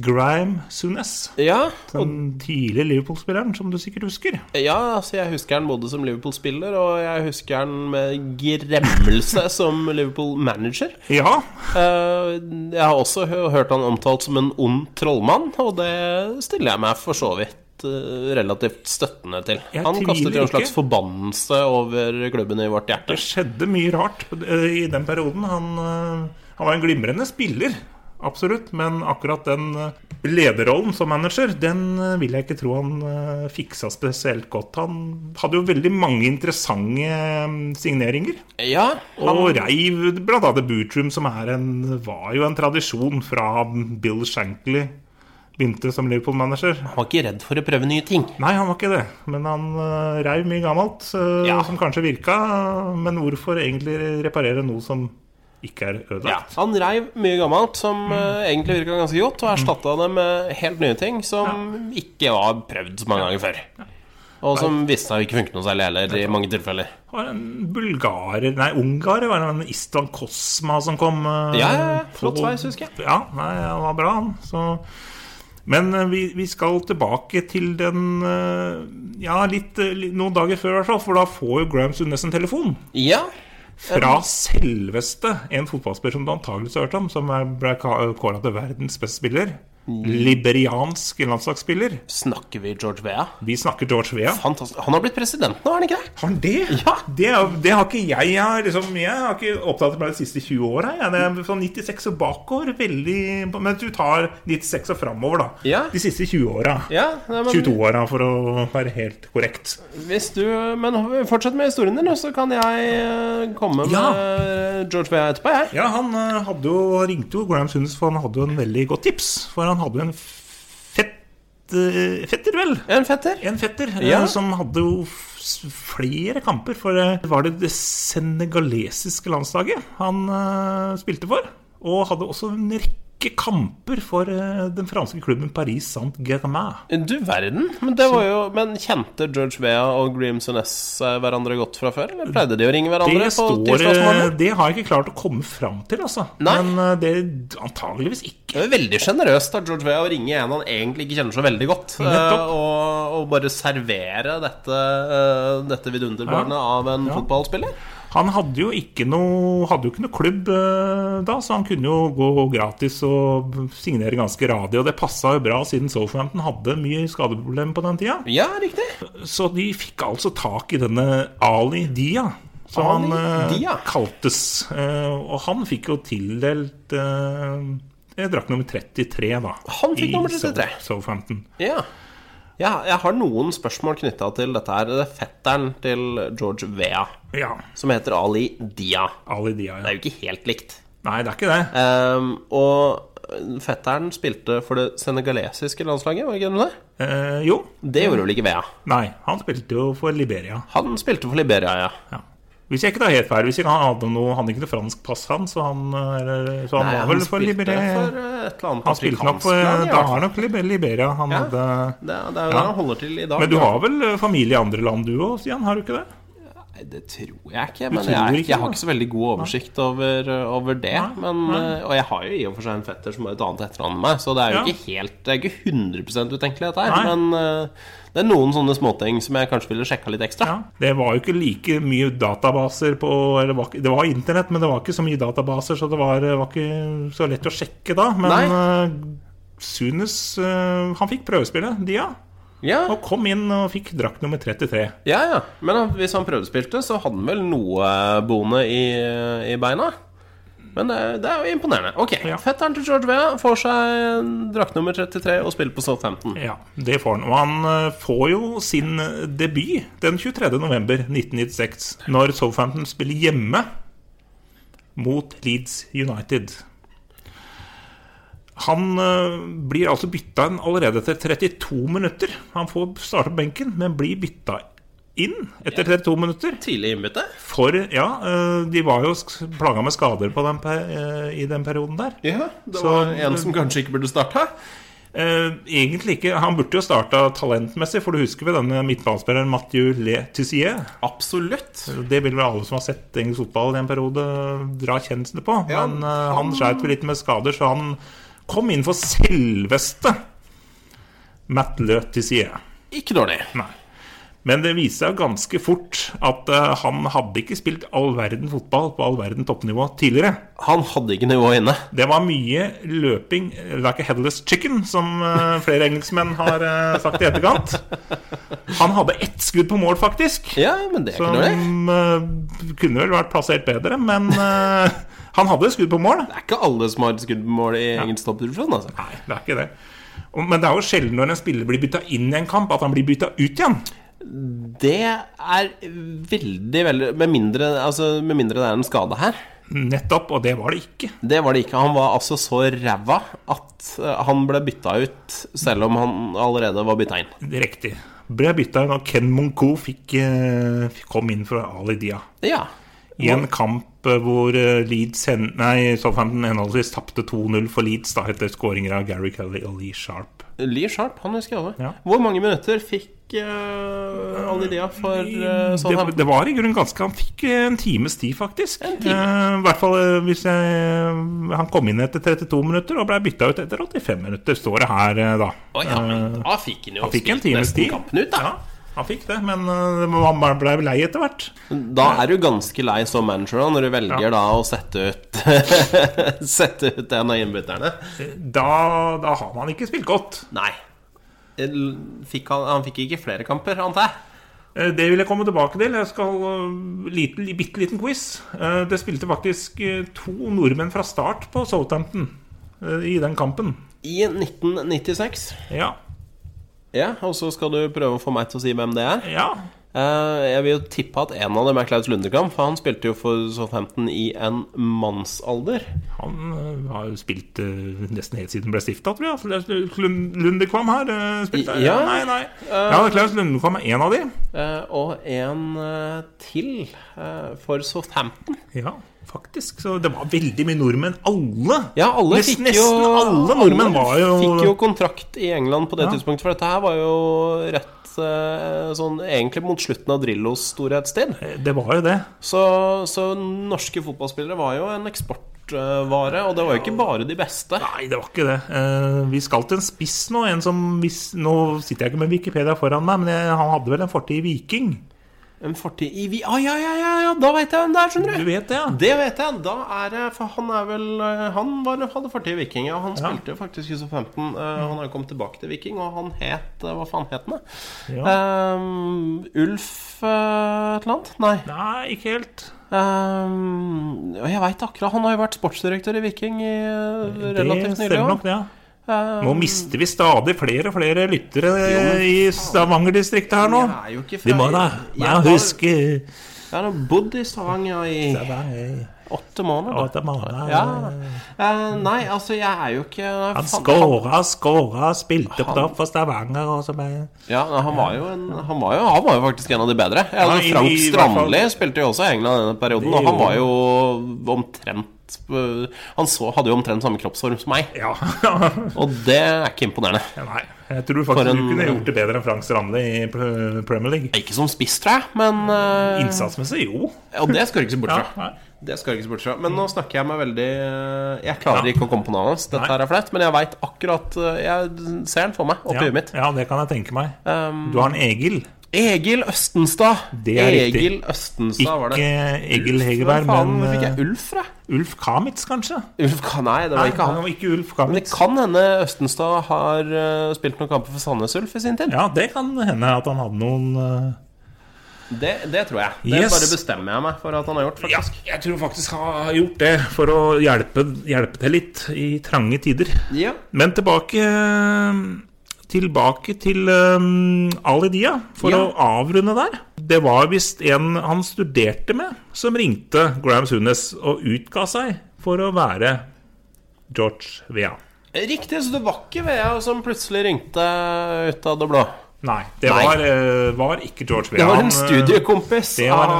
Speaker 2: Grime Sunes.
Speaker 1: Ja, og,
Speaker 2: Den tidlige Liverpool-spilleren, som du sikkert husker.
Speaker 1: ja, altså jeg husker han både som Liverpool-spiller, og jeg husker han med gremmelse som Liverpool-manager.
Speaker 2: Ja,
Speaker 1: Eh, Jeg har også hø- hørt han omtalt som en ond trollmann, og det stiller jeg meg for så vidt eh, relativt støttende til.
Speaker 2: Jeg
Speaker 1: han kastet jo
Speaker 2: tviler
Speaker 1: en slags
Speaker 2: ikke.
Speaker 1: forbannelse over klubben i vårt hjerte.
Speaker 2: Det skjedde mye rart eh, i den perioden. Han, eh, han var en glimrende spiller. absolutt. Men akkurat den eh, lederrollen som manager, den eh, vil jeg ikke tro han eh, fiksa spesielt godt. Han hadde jo veldig mange interessante eh, signeringer.
Speaker 1: Ja, han,
Speaker 2: Og reiv bl.a. Bootrum, som er en, var jo en tradisjon fra Bill Shankly begynte som Liverpool-manager.
Speaker 1: han var ikke redd for å prøve nye ting.
Speaker 2: Nei, han var ikke det, men han uh, reiv mye gammelt eh,
Speaker 1: Ja.
Speaker 2: som kanskje virka. Men hvorfor egentlig reparere noe som ikke er ødelagt?
Speaker 1: Han reiv mye gammelt som eh, egentlig virka ganske godt, og erstatta det med helt nye ting som ikke var prøvd så mange ganger før. Og som viste seg å ikke funke noe særlig heller, i mange tilfeller.
Speaker 2: Det var en bulgarer Nei, ungarer var det en Istvan Kosma som kom. eh,
Speaker 1: Ja, ja, ja.
Speaker 2: på-
Speaker 1: Flott sveis, husker jeg.
Speaker 2: Ja, nei, han var bra, han. Så men eh, vi, vi skal tilbake til den eh, Ja, litt, eh, li- noen dager før, i hvert fall. For da får jo Graham Sundnes en telefon
Speaker 1: Ja.
Speaker 2: fra selveste en fotballspiller som du antakeligvis har hørt om, som er- ble kåra til verdens beste spiller.
Speaker 1: Mm.
Speaker 2: Liberiansk landslagsspiller.
Speaker 1: Snakker vi George Vea?
Speaker 2: Vi snakker George Vea.
Speaker 1: Fantastisk. Han har blitt president nå, har han ikke det?
Speaker 2: Har han det?
Speaker 1: Ja.
Speaker 2: Det, er- det har ikke jeg. Jeg har, liksom, jeg har ikke opptatt meg de siste 20 åra. Jeg Det er fra 96 og bakover. Veldig Men du tar 96 og framover, da.
Speaker 1: Ja.
Speaker 2: De siste 20 åra.
Speaker 1: Ja, nei, men,
Speaker 2: 22 åra, for å være helt korrekt.
Speaker 1: Hvis du, men fortsett med historien din, og så kan jeg eh, komme med
Speaker 2: Ja.
Speaker 1: eh, George Vea etterpå, jeg.
Speaker 2: Ja, han eh, hadde jo, han ringte jo Graham Sunnes, for han hadde jo en veldig godt tips. For han hadde jo en fett, eh, fetter, vel?
Speaker 1: En fetter?
Speaker 2: En fetter eh,
Speaker 1: Ja.
Speaker 2: som hadde jo f- flere kamper for eh, Var det det senegalesiske landslaget han eh, spilte for? Og hadde også en rekke kamper for eh, den franske klubben Paris Saint-Germain.
Speaker 1: Du verden. Men, det var jo, men kjente George Vea og Grimson S hverandre godt fra før? Eller pleide de å ringe hverandre
Speaker 2: Det,
Speaker 1: på
Speaker 2: står, eh,
Speaker 1: tirsdagsmorgen?
Speaker 2: det har jeg ikke klart å komme fram til, altså.
Speaker 1: Nei.
Speaker 2: Men eh, det antageligvis ikke.
Speaker 1: Det er veldig sjenerøst av George Vea å ringe en han egentlig ikke kjenner så veldig godt, eh,
Speaker 2: Nettopp.
Speaker 1: og, og bare servere dette, eh, dette vidunderbarnet av en fotballspiller.
Speaker 2: Han hadde jo ikke noe, hadde jo ikke noe klubb eh, da, så han kunne jo gå gratis og signere ganske radig. Og det passa jo bra, siden Southampton hadde mye skadeproblemer på den tida.
Speaker 1: Ja, riktig.
Speaker 2: Så de fikk altså tak i denne Ali Dia, som
Speaker 1: Ali
Speaker 2: han eh,
Speaker 1: Dia?
Speaker 2: kaltes. Eh, og han fikk jo tildelt eh, drakt nummer 33, da.
Speaker 1: Han fikk
Speaker 2: i
Speaker 1: nummer 33.
Speaker 2: Sou- Southampton.
Speaker 1: Ja. ja. Jeg har noen spørsmål knytta til dette her. Det er fetteren til George Vea,
Speaker 2: Ja.
Speaker 1: som heter Ali Dia.
Speaker 2: Ali Dia,
Speaker 1: Det er
Speaker 2: ja.
Speaker 1: jo ikke helt likt.
Speaker 2: Nei, det er ikke det.
Speaker 1: Ehm, og fetteren spilte for det senegalesiske landslaget, var ikke det det?
Speaker 2: Eh, jo.
Speaker 1: Det gjorde vel ikke Vea.
Speaker 2: Nei, han spilte jo for Liberia.
Speaker 1: Han spilte for Liberia, ja.
Speaker 2: Ja. Hvis jeg ikke tar helt feil, hvis ikke han hadde noe, han hadde ikke noe fransk pass, han, så han, eh, eller, så han
Speaker 1: Nei,
Speaker 2: var vel for
Speaker 1: spilte
Speaker 2: Liberia.
Speaker 1: for eh, et eller annet
Speaker 2: han spilte nok
Speaker 1: afrikansk
Speaker 2: for, eh,
Speaker 1: land, i
Speaker 2: Da
Speaker 1: hvert fall.
Speaker 2: har nok Liber- Liberia han hadde
Speaker 1: det, er- det er jo der han holder til i dag.
Speaker 2: Men du har vel eh, familie i andre land du òg, Stian? Har du ikke det?
Speaker 1: Nei, det tror jeg ikke. Men
Speaker 2: tror
Speaker 1: jeg, er
Speaker 2: ikke
Speaker 1: ikke, jeg
Speaker 2: det?
Speaker 1: har ikke så veldig god oversikt over, over det. Men, eh, og jeg har jo i og for seg en fetter som har et annet etternavn enn meg, så det er jo
Speaker 2: Ja.
Speaker 1: ikke helt Det er ikke 100 utenkelig, dette her.
Speaker 2: Nei.
Speaker 1: Men eh, det er noen sånne småting som jeg kanskje ville sjekka litt ekstra.
Speaker 2: Ja. Det var jo ikke like mye databaser på eller var, ikke- Det var internett, men det var ikke så mye databaser, så det var, eh, var ikke så lett å sjekke da. Men
Speaker 1: Nei.
Speaker 2: eh, Sunes eh, Han fikk prøvespille, Dia,
Speaker 1: Ja,
Speaker 2: og kom inn og fikk drakt nummer 33.
Speaker 1: ja. ja. Men han- hvis han prøvespilte, så hadde han vel noe eh, boende i, i beina. Men det, er- det er jo imponerende. Ok,
Speaker 2: Ja.
Speaker 1: Fetteren til George Vea får seg drakt nummer 33 og spiller på Southampton.
Speaker 2: Ja, det får han. Og han eh, får jo sin eh, debut den 23. november 1996, når Southampton spiller hjemme mot Leeds United. Han eh, blir altså bytta inn allerede etter 32 minutter. Han får starte på benken, men blir bytta inn etter 32 minutter.
Speaker 1: Tidlig innbytte.
Speaker 2: For ja, eh, de var jo sk- plaga med skader på den, per- eh, i den perioden der.
Speaker 1: Ja, det
Speaker 2: var en
Speaker 1: som kanskje ikke burde starta.
Speaker 2: Eh, egentlig ikke. Han burde jo starta talentmessig, for du husker vel denne midtbanespilleren Mathieu Le Tussier?
Speaker 1: Absolutt.
Speaker 2: Det vil vel alle som har sett engelsk fotball i en periode, dra kjensler på.
Speaker 1: Ja,
Speaker 2: Men eh, han skjeit vel litt med skader, så han kom inn for selveste Matt Le Tussier.
Speaker 1: Ikke dårlig.
Speaker 2: Nei. Men det viste seg jo ganske fort at eh, han hadde ikke spilt all verden fotball på all verden toppnivå tidligere.
Speaker 1: Han hadde ikke nivå inne.
Speaker 2: Det var mye løping eh, like a headless chicken, som eh, flere engelskmenn har eh, sagt i etterkant. Han hadde ett skudd på mål, faktisk.
Speaker 1: Ja, men det er
Speaker 2: Som
Speaker 1: ikke dårlig.
Speaker 2: eh, kunne vel vært plassert bedre, men eh, Han hadde skudd på mål.
Speaker 1: Det er ikke alle som har skudd på mål i egen stoppdivisjon, altså.
Speaker 2: Nei, det er ikke det. Og- Men det er jo sjelden når en spiller blir bytta inn i en kamp, at han blir bytta ut igjen.
Speaker 1: Det er veldig, veldig Med mindre, altså, med mindre det er en skade her.
Speaker 2: Nettopp, og det var det ikke.
Speaker 1: Det var det ikke. Han var altså så ræva at eh, han ble bytta ut, selv om han allerede var bytta inn.
Speaker 2: Det er Riktig. Ble bytta da Ken Monko fikk, eh, fikk- kom inn for Ali Dia.
Speaker 1: Ja.
Speaker 2: I en kamp eh, hvor eh, Leeds hen, nei, Southampton henholdsvis tapte 2-0 for Leeds da etter skåringer av Gary Kelly og Lee Sharp.
Speaker 1: Lee Sharp, han husker jeg alle.
Speaker 2: Ja.
Speaker 1: Hvor mange minutter fikk uh, Alidia for uh,
Speaker 2: Det,
Speaker 1: Southampton?
Speaker 2: det var i grunnen ganske Han fikk eh, en times tid, faktisk.
Speaker 1: En time.
Speaker 2: Eh, I hvert fall eh, hvis jeg eh, Han kom inn etter 32 minutter og ble bytta ut etter 85 minutter, står det her eh, da.
Speaker 1: Å ja, men da fikk han jo
Speaker 2: Han fikk en
Speaker 1: spilt
Speaker 2: times
Speaker 1: nesten
Speaker 2: tid.
Speaker 1: kampen ut, da.
Speaker 2: Ja, han fikk det, men eh, han ble lei etter hvert.
Speaker 1: Da er du ganske lei som manager da, når du velger da å sette ut Sette ut en av innbytterne.
Speaker 2: Eh, Da, da har man ikke spilt godt.
Speaker 1: Nei. El- Fikk han, han fikk ikke flere kamper, antar jeg?
Speaker 2: Eh, Det vil jeg komme tilbake til. Jeg skal eh, liten, bitte liten quiz. Eh, Det spilte faktisk eh, to nordmenn fra start på Southampton eh, i den kampen.
Speaker 1: I 1996.
Speaker 2: Ja.
Speaker 1: Ja, og så skal du prøve å få meg til å si hvem det er.
Speaker 2: ja.
Speaker 1: Eh, jeg vil jo tippe at en av dem er Klaus Lundekam, for han spilte jo for Southampton i en mannsalder.
Speaker 2: Han eh, har jo spilt eh, nesten helt siden han ble stifta, tror jeg. Altså, Lund- Lundekvam her eh, spilte
Speaker 1: I- ja.
Speaker 2: Nei, nei. Ja, Klaus Lundekvam er en av de.
Speaker 1: Eh, og en eh, til eh, for Southampton.
Speaker 2: Ja, faktisk. Så det var veldig mye nordmenn. Alle!
Speaker 1: Ja, alle
Speaker 2: Nes-
Speaker 1: fikk jo
Speaker 2: nesten alle nordmenn var jo
Speaker 1: Fikk jo kontrakt i England på det
Speaker 2: Ja.
Speaker 1: tidspunktet, for dette her var jo rett eh, sånn egentlig mot slutten av Drillos storhetstid.
Speaker 2: Eh, Det var jo det.
Speaker 1: Så, så norske fotballspillere var jo en eksportvare, og det var jo ikke bare de beste.
Speaker 2: Nei, det var ikke det. Eh, vi skal til en spiss nå. En som hvis, nå sitter jeg ikke med Wikipedia foran meg, men jeg, han hadde vel en fortid i Viking.
Speaker 1: En fortid i Vi... Å, ja, ja, ja, ja, da veit jeg hvem det er, skjønner
Speaker 2: Du vet det, ja?
Speaker 1: Det vet jeg. Da er det For han er vel eh, Han var, hadde fortid i Viking, og han
Speaker 2: Ja. Mm.
Speaker 1: spilte jo faktisk i 15. han har jo kommet tilbake til Viking, og han het eh, Hva faen het han, da?
Speaker 2: ja.
Speaker 1: Ehm, Ulf eh, et eller annet? Nei.
Speaker 2: Nei, ikke helt.
Speaker 1: Ehm, og jeg veit akkurat. Han har jo vært sportsdirektør i Viking i, eh,
Speaker 2: det
Speaker 1: relativt nylig.
Speaker 2: stemmer nok,
Speaker 1: også.
Speaker 2: det. Ja.
Speaker 1: Ehm,
Speaker 2: Nå mister vi stadig flere og flere lyttere i Stavanger-distriktet her nå.
Speaker 1: jeg er jo ikke fra
Speaker 2: Vi må da eh,
Speaker 1: jeg
Speaker 2: må
Speaker 1: har-
Speaker 2: huske
Speaker 1: Jeg har nå bodd i Stavanger i
Speaker 2: Stavanger.
Speaker 1: åtte måneder.
Speaker 2: Åtte måneder.
Speaker 1: Ja. Eh, nei, altså, jeg er jo ikke
Speaker 2: Han
Speaker 1: faen,
Speaker 2: skåra, skåra, spilte
Speaker 1: Han-
Speaker 2: opp for Stavanger og så bare
Speaker 1: Ja, nei, han var, jo en, han, var jo, han var jo faktisk en av de bedre. Ja, altså,
Speaker 2: Ja, i-
Speaker 1: Frank
Speaker 2: i hvert fall-
Speaker 1: Strandli spilte jo også i England i denne perioden,
Speaker 2: Det
Speaker 1: og han
Speaker 2: gjorde
Speaker 1: var jo omtrent øh, Han så, hadde jo omtrent samme kroppsform som meg,
Speaker 2: Ja.
Speaker 1: og det er ikke imponerende.
Speaker 2: Nei. Jeg tror
Speaker 1: For
Speaker 2: faktisk
Speaker 1: en-
Speaker 2: du kunne gjort det bedre enn Frank Strandli i Pre- Premier League.
Speaker 1: Ikke som spiss, tror jeg, men øh,
Speaker 2: Eh, Innsatsmessig, jo.
Speaker 1: Og det skal du ikke se bort
Speaker 2: Ja,
Speaker 1: fra.
Speaker 2: nei.
Speaker 1: Det skal du ikke se bort fra. Men nå snakker jeg meg veldig øh, Jeg klarer ikke å komme på navnet hans, dette
Speaker 2: Nei.
Speaker 1: her er flaut, men jeg veit akkurat øh, Jeg ser den for meg oppi
Speaker 2: Ja,
Speaker 1: huet mitt. Um,
Speaker 2: ja, det kan jeg tenke meg. Du har en Egil.
Speaker 1: Egil Østenstad.
Speaker 2: Det er riktig.
Speaker 1: Egil Østenstad var det.
Speaker 2: Ikke Egil Hegerberg,
Speaker 1: Hvor faen fikk
Speaker 2: men
Speaker 1: jeg Ulf fra?
Speaker 2: eh, Ulf Kamitz, kanskje?
Speaker 1: Ulf, Ka- nei, det var ikke han.
Speaker 2: Nei, Ikke Ulf
Speaker 1: Men det
Speaker 2: Kamitz.
Speaker 1: kan hende Østenstad har eh, spilt noen kamper for Sandnes Ulf i sin tid.
Speaker 2: Ja, det kan hende at han hadde noen eh,
Speaker 1: Det, det tror jeg. Det
Speaker 2: Yes.
Speaker 1: bare bestemmer jeg meg for at han har gjort,
Speaker 2: Ja,
Speaker 1: faktisk.
Speaker 2: jeg tror faktisk han har gjort det for å hjelpe, hjelpe til litt i trange tider.
Speaker 1: Ja.
Speaker 2: Men tilbake Tilbake til um, Ali Dia, for
Speaker 1: Ja.
Speaker 2: å avrunde der. Det var visst en han studerte med, som ringte Graham Sunes og utga seg for å være George Vea.
Speaker 1: Riktig, så det var ikke Vea som plutselig ringte ut av det blå.
Speaker 2: Nei, det
Speaker 1: Nei.
Speaker 2: Var, eh, var ikke George Vea.
Speaker 1: Det var
Speaker 2: Han,
Speaker 1: en
Speaker 2: eh,
Speaker 1: studiekompis
Speaker 2: det var
Speaker 1: av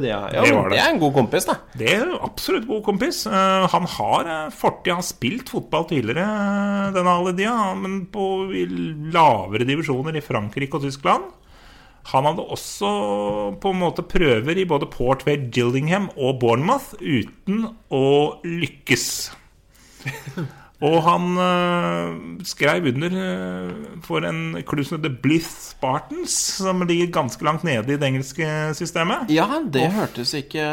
Speaker 2: det.
Speaker 1: Alidea. Ja,
Speaker 2: Det
Speaker 1: men
Speaker 2: var det.
Speaker 1: det er en god kompis, da.
Speaker 2: Det er jo absolutt god kompis. Eh, han har eh, fortid. Han har spilt fotball tidligere, eh, denne Alidia, men på i lavere divisjoner i Frankrike og Tyskland. Han hadde også på en måte prøver i både Port Vale, Gillingham og Bournemouth uten å lykkes. Og han eh, skrev under eh, for en klubb som heter Blyth Spartans, som ligger ganske langt nede i det engelske systemet.
Speaker 1: Ja, det hørtes ikke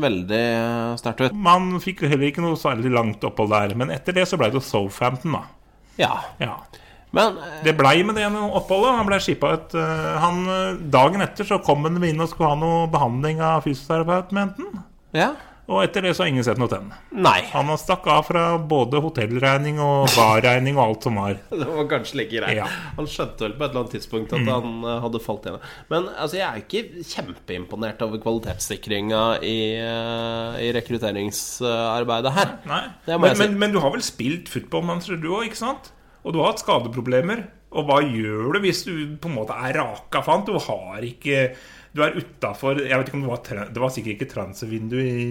Speaker 1: veldig eh, sterkt ut.
Speaker 2: Man fikk jo heller ikke noe særlig langt opphold der. Men etter det så blei det jo Southampton, da.
Speaker 1: Ja,
Speaker 2: Ja.
Speaker 1: men eh,
Speaker 2: Det blei med det oppholdet. Han ble skippa ut. eh, Han, eh, dagen etter så kom han inn og skulle ha noe behandling av fysioterapeuten, mente han.
Speaker 1: Ja.
Speaker 2: Og etter det så har ingen sett noe til den.
Speaker 1: Nei.
Speaker 2: Han har stakk av fra både hotellregning og barregning og alt som var.
Speaker 1: Det var kanskje like greit.
Speaker 2: Ja. Mm.
Speaker 1: Han skjønte vel på et eller annet tidspunkt at han eh, hadde falt igjen. Men altså, jeg er jo ikke kjempeimponert over kvalitetssikringa i, eh, i rekrutteringsarbeidet her.
Speaker 2: Nei.
Speaker 1: Det må
Speaker 2: men,
Speaker 1: jeg si.
Speaker 2: men, men du har vel spilt football manager, du òg, ikke sant? Og du har hatt skadeproblemer. Og hva gjør du hvis du på en måte er raka fant? Du har ikke Du er utafor Jeg vet ikke om det var tra- Det var sikkert ikke transevindu i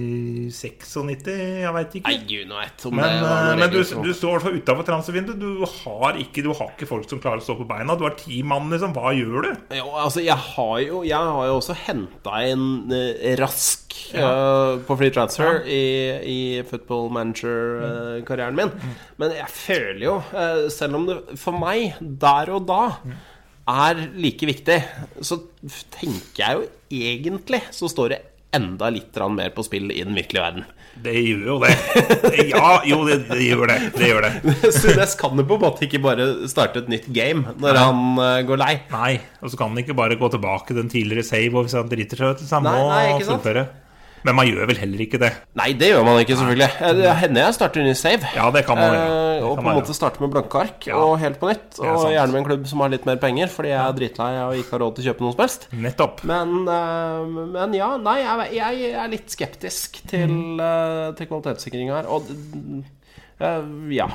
Speaker 2: 96, jeg veit ikke.
Speaker 1: Nei, gud nå vet om
Speaker 2: Men, eh,
Speaker 1: det var noen
Speaker 2: men du,
Speaker 1: regler som-
Speaker 2: du står i hvert fall utafor transevinduet. Du har ikke Du har ikke folk som klarer å stå på beina. Du har ti mann, liksom. Hva gjør du?
Speaker 1: Jo, altså jeg har jo, jeg har jo også henta en eh, rask eh, på free transfer i, i football manager-karrieren min. Men jeg føler jo, eh, selv om det for meg der og da er like viktig, så f- tenker jeg jo egentlig så står det enda litt grann mer på spill i den virkelige verden.
Speaker 2: Det gjør jo det. Ja, jo, det, det gjør det. Det gjør det.
Speaker 1: Sunes kan jo på en måte ikke bare starte et nytt game når han eh, går lei.
Speaker 2: Nei, og så kan han ikke bare gå tilbake den tidligere save og hvis han driter seg ut, så han
Speaker 1: Nei,
Speaker 2: må
Speaker 1: nei, ikke sant?
Speaker 2: fullføre. Men man gjør vel heller ikke det.
Speaker 1: Nei, det gjør man ikke, selvfølgelig. Eh, Det hender jeg starter ny save.
Speaker 2: Ja, det kan man gjøre.
Speaker 1: Eh,
Speaker 2: Det kan
Speaker 1: Og på en
Speaker 2: man
Speaker 1: måte starte med blanke ark
Speaker 2: Ja.
Speaker 1: og helt på nytt.
Speaker 2: er
Speaker 1: Og
Speaker 2: sant.
Speaker 1: gjerne med en klubb som har litt mer penger, fordi jeg er dritlei og ikke har råd til å kjøpe noe som helst.
Speaker 2: Nettopp.
Speaker 1: Men, eh, men ja, nei, jeg, jeg er litt skeptisk til,
Speaker 2: Mm.
Speaker 1: eh, til kvalitetssikringa her. Og eh, ja.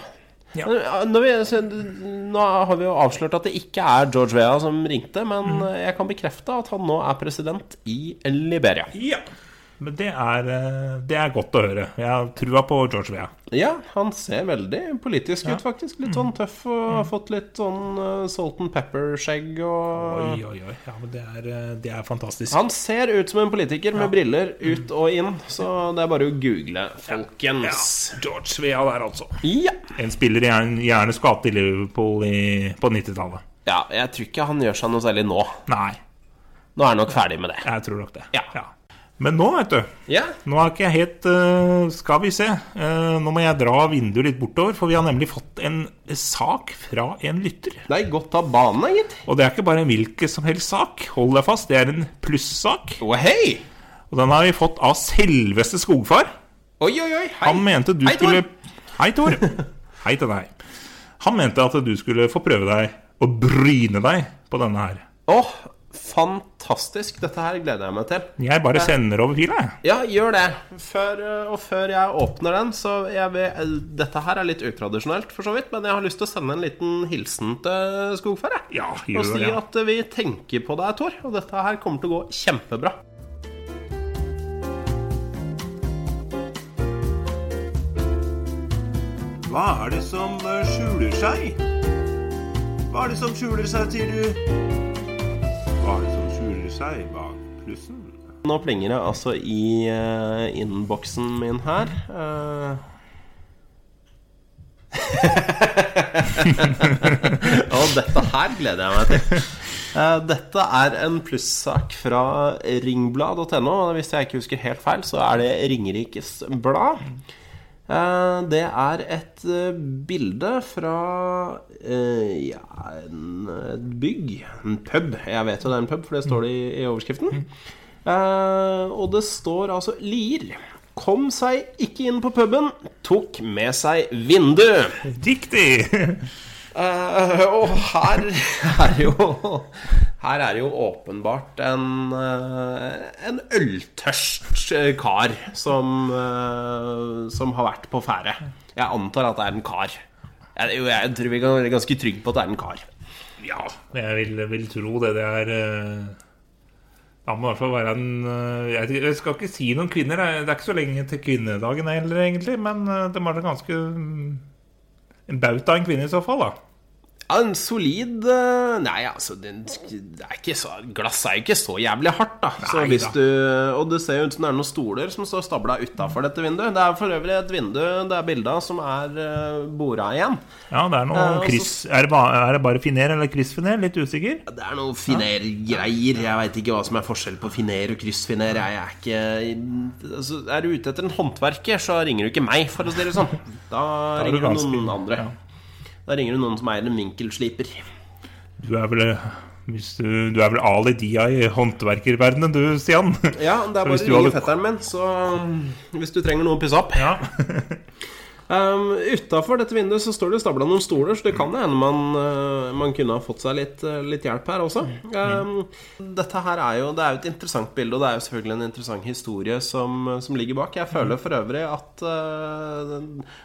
Speaker 2: Ja.
Speaker 1: Men, eh, Når vi, så, nå har vi jo avslørt at det ikke er George Vea som ringte, men
Speaker 2: Mm.
Speaker 1: eh, jeg kan bekrefte at han nå er president i Liberia.
Speaker 2: Ja. Men det er, eh, det er godt å høre. Jeg har trua på George Vea.
Speaker 1: Ja, han ser veldig politisk ut, faktisk. Litt sånn tøff og har fått litt sånn eh, salt and pepper-skjegg og
Speaker 2: Oi, oi, oi. Ja, men det er, eh, det er fantastisk.
Speaker 1: Ah. Han ser ut som en politiker med briller ut og inn, så det er bare å google,
Speaker 2: Ja,
Speaker 1: folkens.
Speaker 2: George Vea der, altså.
Speaker 1: Ja.
Speaker 2: En spiller gjerne, gjerne skulle hatt i Liverpool i, på 90-tallet.
Speaker 1: ja. Jeg tror ikke han gjør seg noe særlig nå.
Speaker 2: Nei,
Speaker 1: Nå er han nok ferdig med det.
Speaker 2: jeg tror nok det.
Speaker 1: Ja.
Speaker 2: Men nå, vet du
Speaker 1: Ja.
Speaker 2: Nå er ikke jeg helt eh, Skal vi se. Eh, nå må jeg dra vinduet litt bortover, for vi har nemlig fått en sak fra en lytter.
Speaker 1: Nei, godt av banen, gitt.
Speaker 2: Og det er ikke bare en hvilken som helst sak. Hold deg fast, det er en plussak.
Speaker 1: Å, hei!
Speaker 2: Og den har vi fått av selveste Skogfar.
Speaker 1: Oi, oi, oi. Hei.
Speaker 2: Han mente du
Speaker 1: Hei, Tor.
Speaker 2: skulle Hei, Tor. Hei til deg. Han mente at du skulle få prøve deg og bryne deg på denne her.
Speaker 1: Åh, fantastisk. Dette her gleder jeg meg til.
Speaker 2: Jeg bare sender over fila, jeg.
Speaker 1: Ja, gjør det. Før, eh, og før jeg åpner den, så jeg vil, eh, Dette her er litt utradisjonelt, for så vidt, men jeg har lyst til å sende en liten hilsen til Skogfær. jeg.
Speaker 2: Ja,
Speaker 1: og
Speaker 2: gjør
Speaker 1: si
Speaker 2: det.
Speaker 1: at eh, vi tenker på deg, Tor, og dette her kommer til å gå kjempebra.
Speaker 3: Hva er det som eh, skjuler seg? Hva er det som skjuler seg, sier du? Hva er det som skjuler seg bak plussen?
Speaker 1: Nå plinger det altså i eh, innboksen min her. Eh, og dette her gleder jeg meg til. Eh, dette er en plussak fra ringblad.no. og Hvis jeg ikke husker helt feil, så er det Ringerikes Blad. Eh, Det er et eh, bilde fra eh, ja, en, et bygg. En pub. Jeg vet jo det er en pub, for det står det i, i overskriften. Eh, og det står altså Lier. Kom seg ikke inn på puben, tok med seg vindu.
Speaker 2: Riktig!
Speaker 1: Eh, og her er jo Her er jo åpenbart en, eh, en øltørst eh, kar som, eh, som har vært på ferde. Jeg antar at det er en kar. Jeg, jo, jeg tror vi kan være ganske trygge på at det er en kar.
Speaker 2: Ja, jeg vil, vil tro det. Det er eh, Da må i hvert fall være en eh, jeg, vet ikke- jeg skal ikke si noen kvinner. Det er, det er ikke så lenge til kvinnedagen heller, egentlig. Men eh, det må være ganske mm, En bauta av en kvinne i så fall, da.
Speaker 1: Ja, en solid eh, Nei, altså den, det er ikke så, Glass er jo ikke så jævlig hardt, da. Så
Speaker 2: Nei
Speaker 1: hvis
Speaker 2: da.
Speaker 1: du, og det ser jo ut som det er noen stoler som står stabla utafor dette vinduet. Det er for øvrig et vindu det er bilde av, som er eh, bora igjen.
Speaker 2: Ja, det er noe
Speaker 1: Ja, og så-
Speaker 2: Chris Er det, ba- er det bare finer eller kryssfiner? Litt usikker.
Speaker 1: Det er noe finergreier. Jeg veit ikke hva som er forskjell på finer og kryssfiner. Jeg er ikke altså, Er du ute etter en håndverker, så ringer du ikke meg, for å si det sånn. Da
Speaker 2: er det
Speaker 1: ringer du
Speaker 2: vanskelig.
Speaker 1: noen andre. Da ringer du noen som eier en vinkelsliper.
Speaker 2: Du er vel eh, Hvis du, du er vel Ali Dia i håndverkerverdenen du, Stian?
Speaker 1: Ja,
Speaker 2: Så
Speaker 1: det er bare
Speaker 2: hvis
Speaker 1: å
Speaker 2: du
Speaker 1: ringe
Speaker 2: hadde-
Speaker 1: fetteren min, så um, hvis du trenger noe å pusse opp.
Speaker 2: Ja.
Speaker 1: Um, Utafor dette vinduet så står det stabla noen stoler, så det kan hende man, eh, man kunne ha fått seg litt, eh, litt hjelp her også.
Speaker 2: Mm.
Speaker 1: Um, dette her er jo, det er jo et interessant bilde, og det er jo selvfølgelig en interessant historie som, uh, som ligger bak. Jeg føler for øvrig at eh,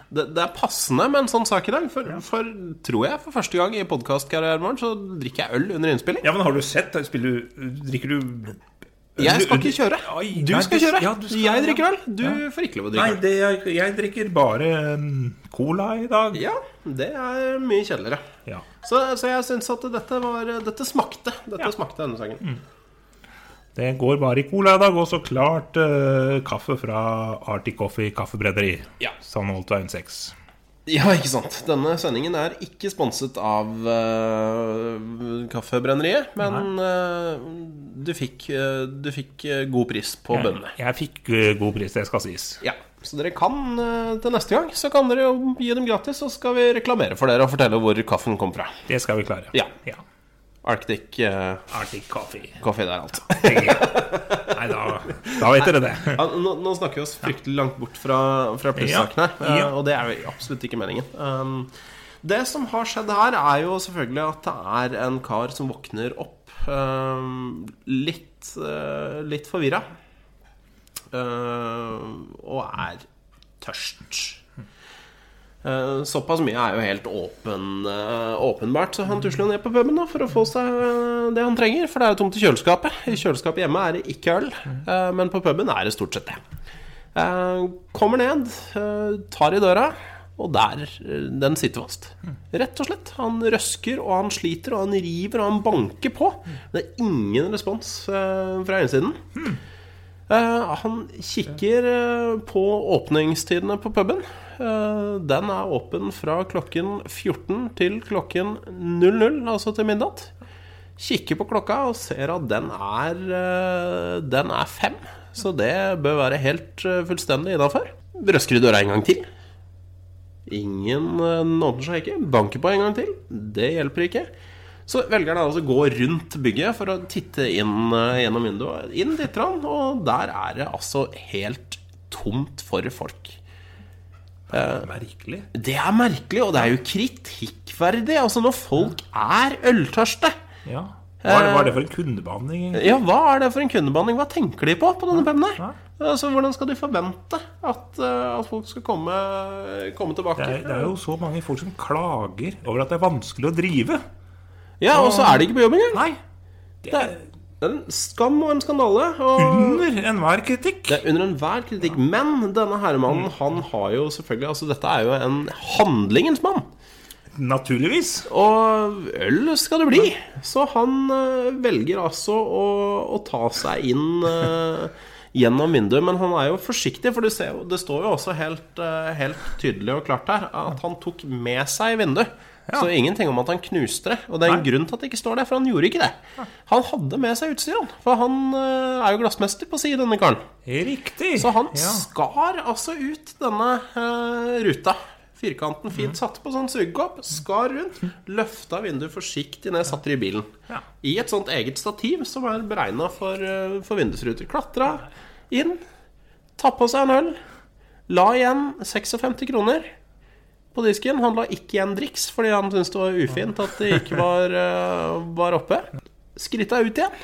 Speaker 1: det, det er passende med en sånn sak i dag. For, for tror jeg for første gang i podkastkarrieren vår så drikker jeg øl under innspilling.
Speaker 2: ja, men har du sett? Spiller du Drikker du
Speaker 1: Jeg skal ikke kjøre.
Speaker 2: Oi,
Speaker 1: Du
Speaker 2: nei,
Speaker 1: skal
Speaker 2: du-
Speaker 1: kjøre.
Speaker 2: ja, du skal-
Speaker 1: Jeg drikker øl. Du
Speaker 2: Ja.
Speaker 1: får ikke lov å
Speaker 2: Nei,
Speaker 1: drikke øl.
Speaker 2: det, jeg, jeg drikker bare mm, cola i dag.
Speaker 1: Ja, det er mye kjedeligere.
Speaker 2: Ja.
Speaker 1: Så, så jeg syns at dette var Dette smakte. Dette smakte denne sangen.
Speaker 2: Det går bare i cola i dag, og så klart eh, kaffe fra Arctic Coffee Kaffebrederi.
Speaker 1: Ja.
Speaker 2: Sandholtveien 6.
Speaker 1: Ja, ikke sant. Denne sendingen er ikke sponset av eh, Kaffebrenneriet, men eh, du fikk, eh, du fikk eh, god pris på bønnene.
Speaker 2: Jeg fikk eh, god pris, det skal sies.
Speaker 1: Ja, Så dere kan eh, til neste gang Så kan dere jo gi dem gratis, så skal vi reklamere for dere og fortelle hvor kaffen kom fra.
Speaker 2: Det skal vi klare.
Speaker 1: Ja. Arctic eh,
Speaker 2: Arctic Coffee.
Speaker 1: Coffee der, altså.
Speaker 2: Nei, da, da vet dere det.
Speaker 1: Ja, nå, nå snakker vi oss fryktelig langt bort fra, fra plussaken her,
Speaker 2: Ja.
Speaker 1: eh, og det er jo absolutt ikke meningen. Um, det som har skjedd her, er jo selvfølgelig at det er en kar som våkner opp um, litt, uh, litt forvirra. Uh, og er tørst. Eh, Såpass mye er jo helt åpen, eh, åpenbart, så han tusler ned på puben da, for å få seg eh, det han trenger. For det er jo tomt i kjøleskapet. I kjøleskapet hjemme er det ikke øl, eh, men på puben er det stort sett det. Eh, Kommer ned, eh, tar i døra, og der eh, den sitter fast. Rett og slett. Han røsker, og han sliter, og han river, og han banker på. Det er ingen respons eh, fra innsiden. Eh, han kikker eh, på åpningstidene på puben. Eh, den er åpen fra klokken 14 til klokken 00, altså til midnatt. Kikker på klokka og ser at den er, eh, den er fem, så det bør være helt eh, fullstendig innafor. Røsker i døra en gang til. Ingen eh, nådde seg ikke. Banker på en gang til. Det hjelper ikke. Så velger han altså å gå rundt bygget for å titte inn eh, gjennom vinduet. Inn titter han, og der er det altså helt tomt for folk.
Speaker 2: Merkelig.
Speaker 1: Det er merkelig, og det er jo kritikkverdig. Altså, når folk er øltørste
Speaker 2: Ja. Hva er, hva er det for en kundebehandling? egentlig?
Speaker 1: Ja, hva er det for en kundebehandling? Hva tenker de på på denne puben her?
Speaker 2: Ja.
Speaker 1: Altså, hvordan skal de forvente at, eh, at folk skal komme, komme tilbake?
Speaker 2: Det er, det er jo så mange folk som klager over at det er vanskelig å drive.
Speaker 1: Ja, og så er de ikke på jobb engang.
Speaker 2: Nei.
Speaker 1: Det er det er en skam og en skandale. Og
Speaker 2: Under enhver kritikk.
Speaker 1: Det er under enhver kritikk. Men denne herremannen, han har jo selvfølgelig Altså, dette er jo en handlingens mann.
Speaker 2: Naturligvis.
Speaker 1: Og øl skal det bli. Så han eh, velger altså å, å ta seg inn eh, gjennom vinduet. Men han er jo forsiktig, for du ser jo, det står jo også helt, eh, helt tydelig og klart her at han tok med seg vinduet. Så ingenting om at han knuste det. Og det er en grunn til at det ikke står der, for han gjorde ikke det. Han hadde med seg utstyr, han. For han eh, er jo glassmester på å si denne karen.
Speaker 2: Riktig.
Speaker 1: Så han
Speaker 2: ja.
Speaker 1: skar altså ut denne eh, ruta. Firkanten fint satt på sånn sugekopp, skar rundt, løfta vinduet forsiktig ned, satte det i bilen.
Speaker 2: Ja.
Speaker 1: I et sånt eget stativ som er beregna for, eh, for vindusruter. Klatra inn, ta på seg en øl, la igjen 56 kroner på disken. Han la ikke igjen driks fordi han syntes det var ufint at det ikke var, eh, var oppe. Skritta ut igjen.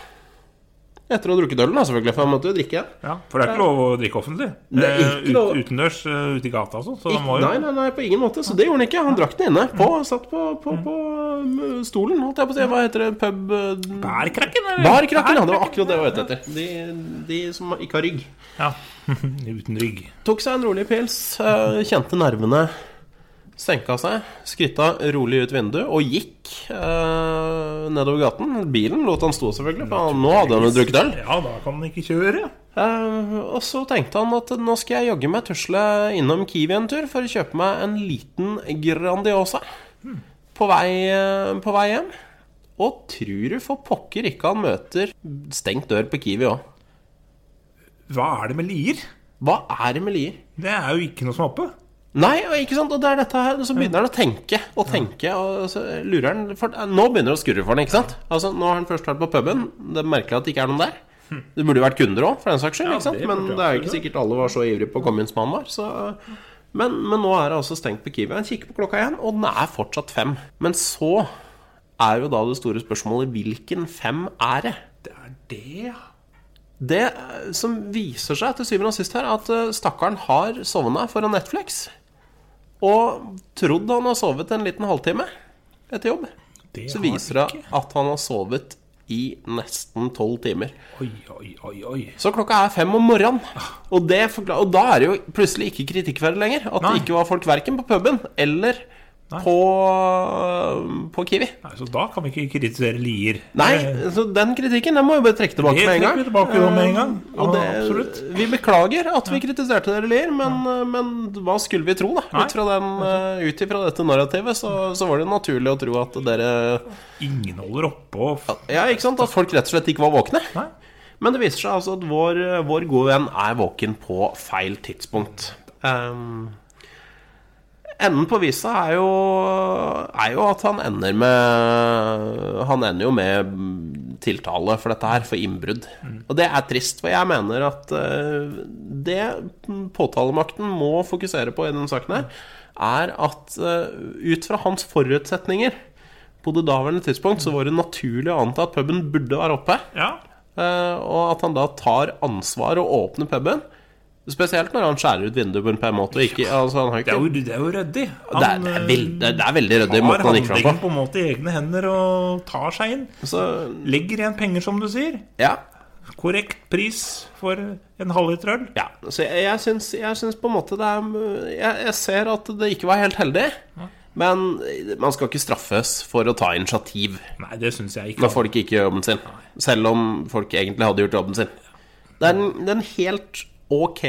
Speaker 1: Etter å ha drukket ølen, da, selvfølgelig, for han måtte jo drikke igjen.
Speaker 2: Ja, for det er ikke lov å drikke offentlig.
Speaker 1: Eh, Det er ikke
Speaker 2: Eh, ut-
Speaker 1: lov.
Speaker 2: Utendørs, eh, ute i gata og sånn. Så
Speaker 1: Ikke-
Speaker 2: han må jo
Speaker 1: Nei, nei, nei, på ingen måte. Så det gjorde han ikke. Han drakk den inne. På, satt på, på,
Speaker 2: Mm.
Speaker 1: på um, stolen, holdt jeg på å si. Hva heter det? Pub eh,
Speaker 2: Bærkrakken, eller?
Speaker 1: Barkrakken! Ja, det var akkurat det jeg var ute etter. De, de som ikke har rygg.
Speaker 2: Ja. Uten rygg.
Speaker 1: Tok seg en rolig pils, eh, kjente nervene senka seg, skritta rolig ut vinduet og gikk eh, nedover gaten. Bilen lot han stå, selvfølgelig, for han, nå hadde han jo drukket øl.
Speaker 2: Ja, da kan han ikke kjøre.
Speaker 1: Eh, og så tenkte han at nå skal jeg jaggu meg tusle innom Kiwi en tur for å kjøpe meg en liten Grandiosa på, vei, eh, på vei hjem. Og tror du for pokker ikke han møter stengt dør på Kiwi òg.
Speaker 2: Hva er det med Lier?
Speaker 1: Hva er det med Lier?
Speaker 2: Det er jo ikke noe som er oppe.
Speaker 1: Nei, og ikke sant? Og det er dette her, så begynner han å tenke og tenke. Og så lurer han for, Nå begynner det å skurre for han, ikke sant? Altså, Nå har han først vært på puben. Det er merkelig at det ikke er noen der. Det burde jo vært kunder òg, for den saks skyld. ikke sant?
Speaker 4: Hm. det burde det
Speaker 1: Men det er jo
Speaker 4: absolutt
Speaker 1: ikke sikkert alle var så ivrige på å komme inn som han var. Så. Men, men nå er det altså stengt på Kiwi. Han kikker på klokka igjen, og den er fortsatt fem. Men så er jo da det store spørsmålet hvilken fem er det?
Speaker 4: Det er det, ja.
Speaker 1: Det eh, som viser seg til syvende og sist her, er at eh, stakkaren har sovna foran Netflix. Og trodd han har sovet en liten halvtime etter jobb.
Speaker 4: Det
Speaker 1: så
Speaker 4: har
Speaker 1: viser det at han har sovet i nesten tolv timer.
Speaker 4: Oi, oi, oi, oi.
Speaker 1: Så klokka er fem om morgenen. Og, det forklar- og da er det jo plutselig ikke kritikkverdig lenger. At
Speaker 4: Nei.
Speaker 1: det ikke var folk verken på puben eller på, på Kiwi.
Speaker 2: Nei, så da kan vi ikke kritisere Lier. Eh,
Speaker 1: Nei, så den kritikken den må jo bare trekke tilbake
Speaker 2: Det
Speaker 1: med en
Speaker 2: trekker
Speaker 1: gang.
Speaker 2: vi tilbake da med en gang. Ja,
Speaker 1: Og det,
Speaker 2: absolutt.
Speaker 1: Vi beklager at vi kritiserte dere, Lier, men, eh, men hva skulle vi tro, da? Ut fra, den, eh, ut ifra dette narrativet så, så var det naturlig å tro at dere
Speaker 2: Ingen holder oppe og f-
Speaker 1: Ja, ikke sant? At folk rett og slett ikke var våkne.
Speaker 2: Nei.
Speaker 1: Men det viser seg altså at vår, vår gode venn er våken på feil tidspunkt. Ehm, enden på visa er jo, er jo at han ender med Han ender jo med tiltale for dette her, for innbrudd. Og det er trist, for jeg mener at eh, det påtalemakten må fokusere på i denne saken her, er at eh, ut fra hans forutsetninger på det daværende tidspunkt så var det naturlig å anta at puben burde være oppe.
Speaker 2: Ja.
Speaker 1: Eh, og at han da tar ansvar og åpner puben. Spesielt når han skjærer ut vinduet på en pen måte. og Ikke, altså, han har
Speaker 2: Det
Speaker 1: ikke,
Speaker 2: er jo, det er jo ryddig.
Speaker 1: det, er, det, er veld, det, er, det er veldig ryddig i
Speaker 2: eh, har
Speaker 1: måten han gikk fram på.
Speaker 2: handlingen på en måte i egne hender og tar seg inn.
Speaker 1: Så,
Speaker 2: Legger igjen penger, som du sier.
Speaker 1: ja.
Speaker 2: Korrekt pris for en halvliter øl.
Speaker 1: ja. Så jeg, jeg, syns, jeg syns på en måte det er jeg, jeg ser at det ikke var helt heldig. Men man skal ikke straffes for å ta initiativ
Speaker 2: Nei, det syns jeg ikke.
Speaker 1: når folk ikke gjør jobben sin. Selv om folk egentlig hadde gjort jobben sin. Det er en, det er en helt ok,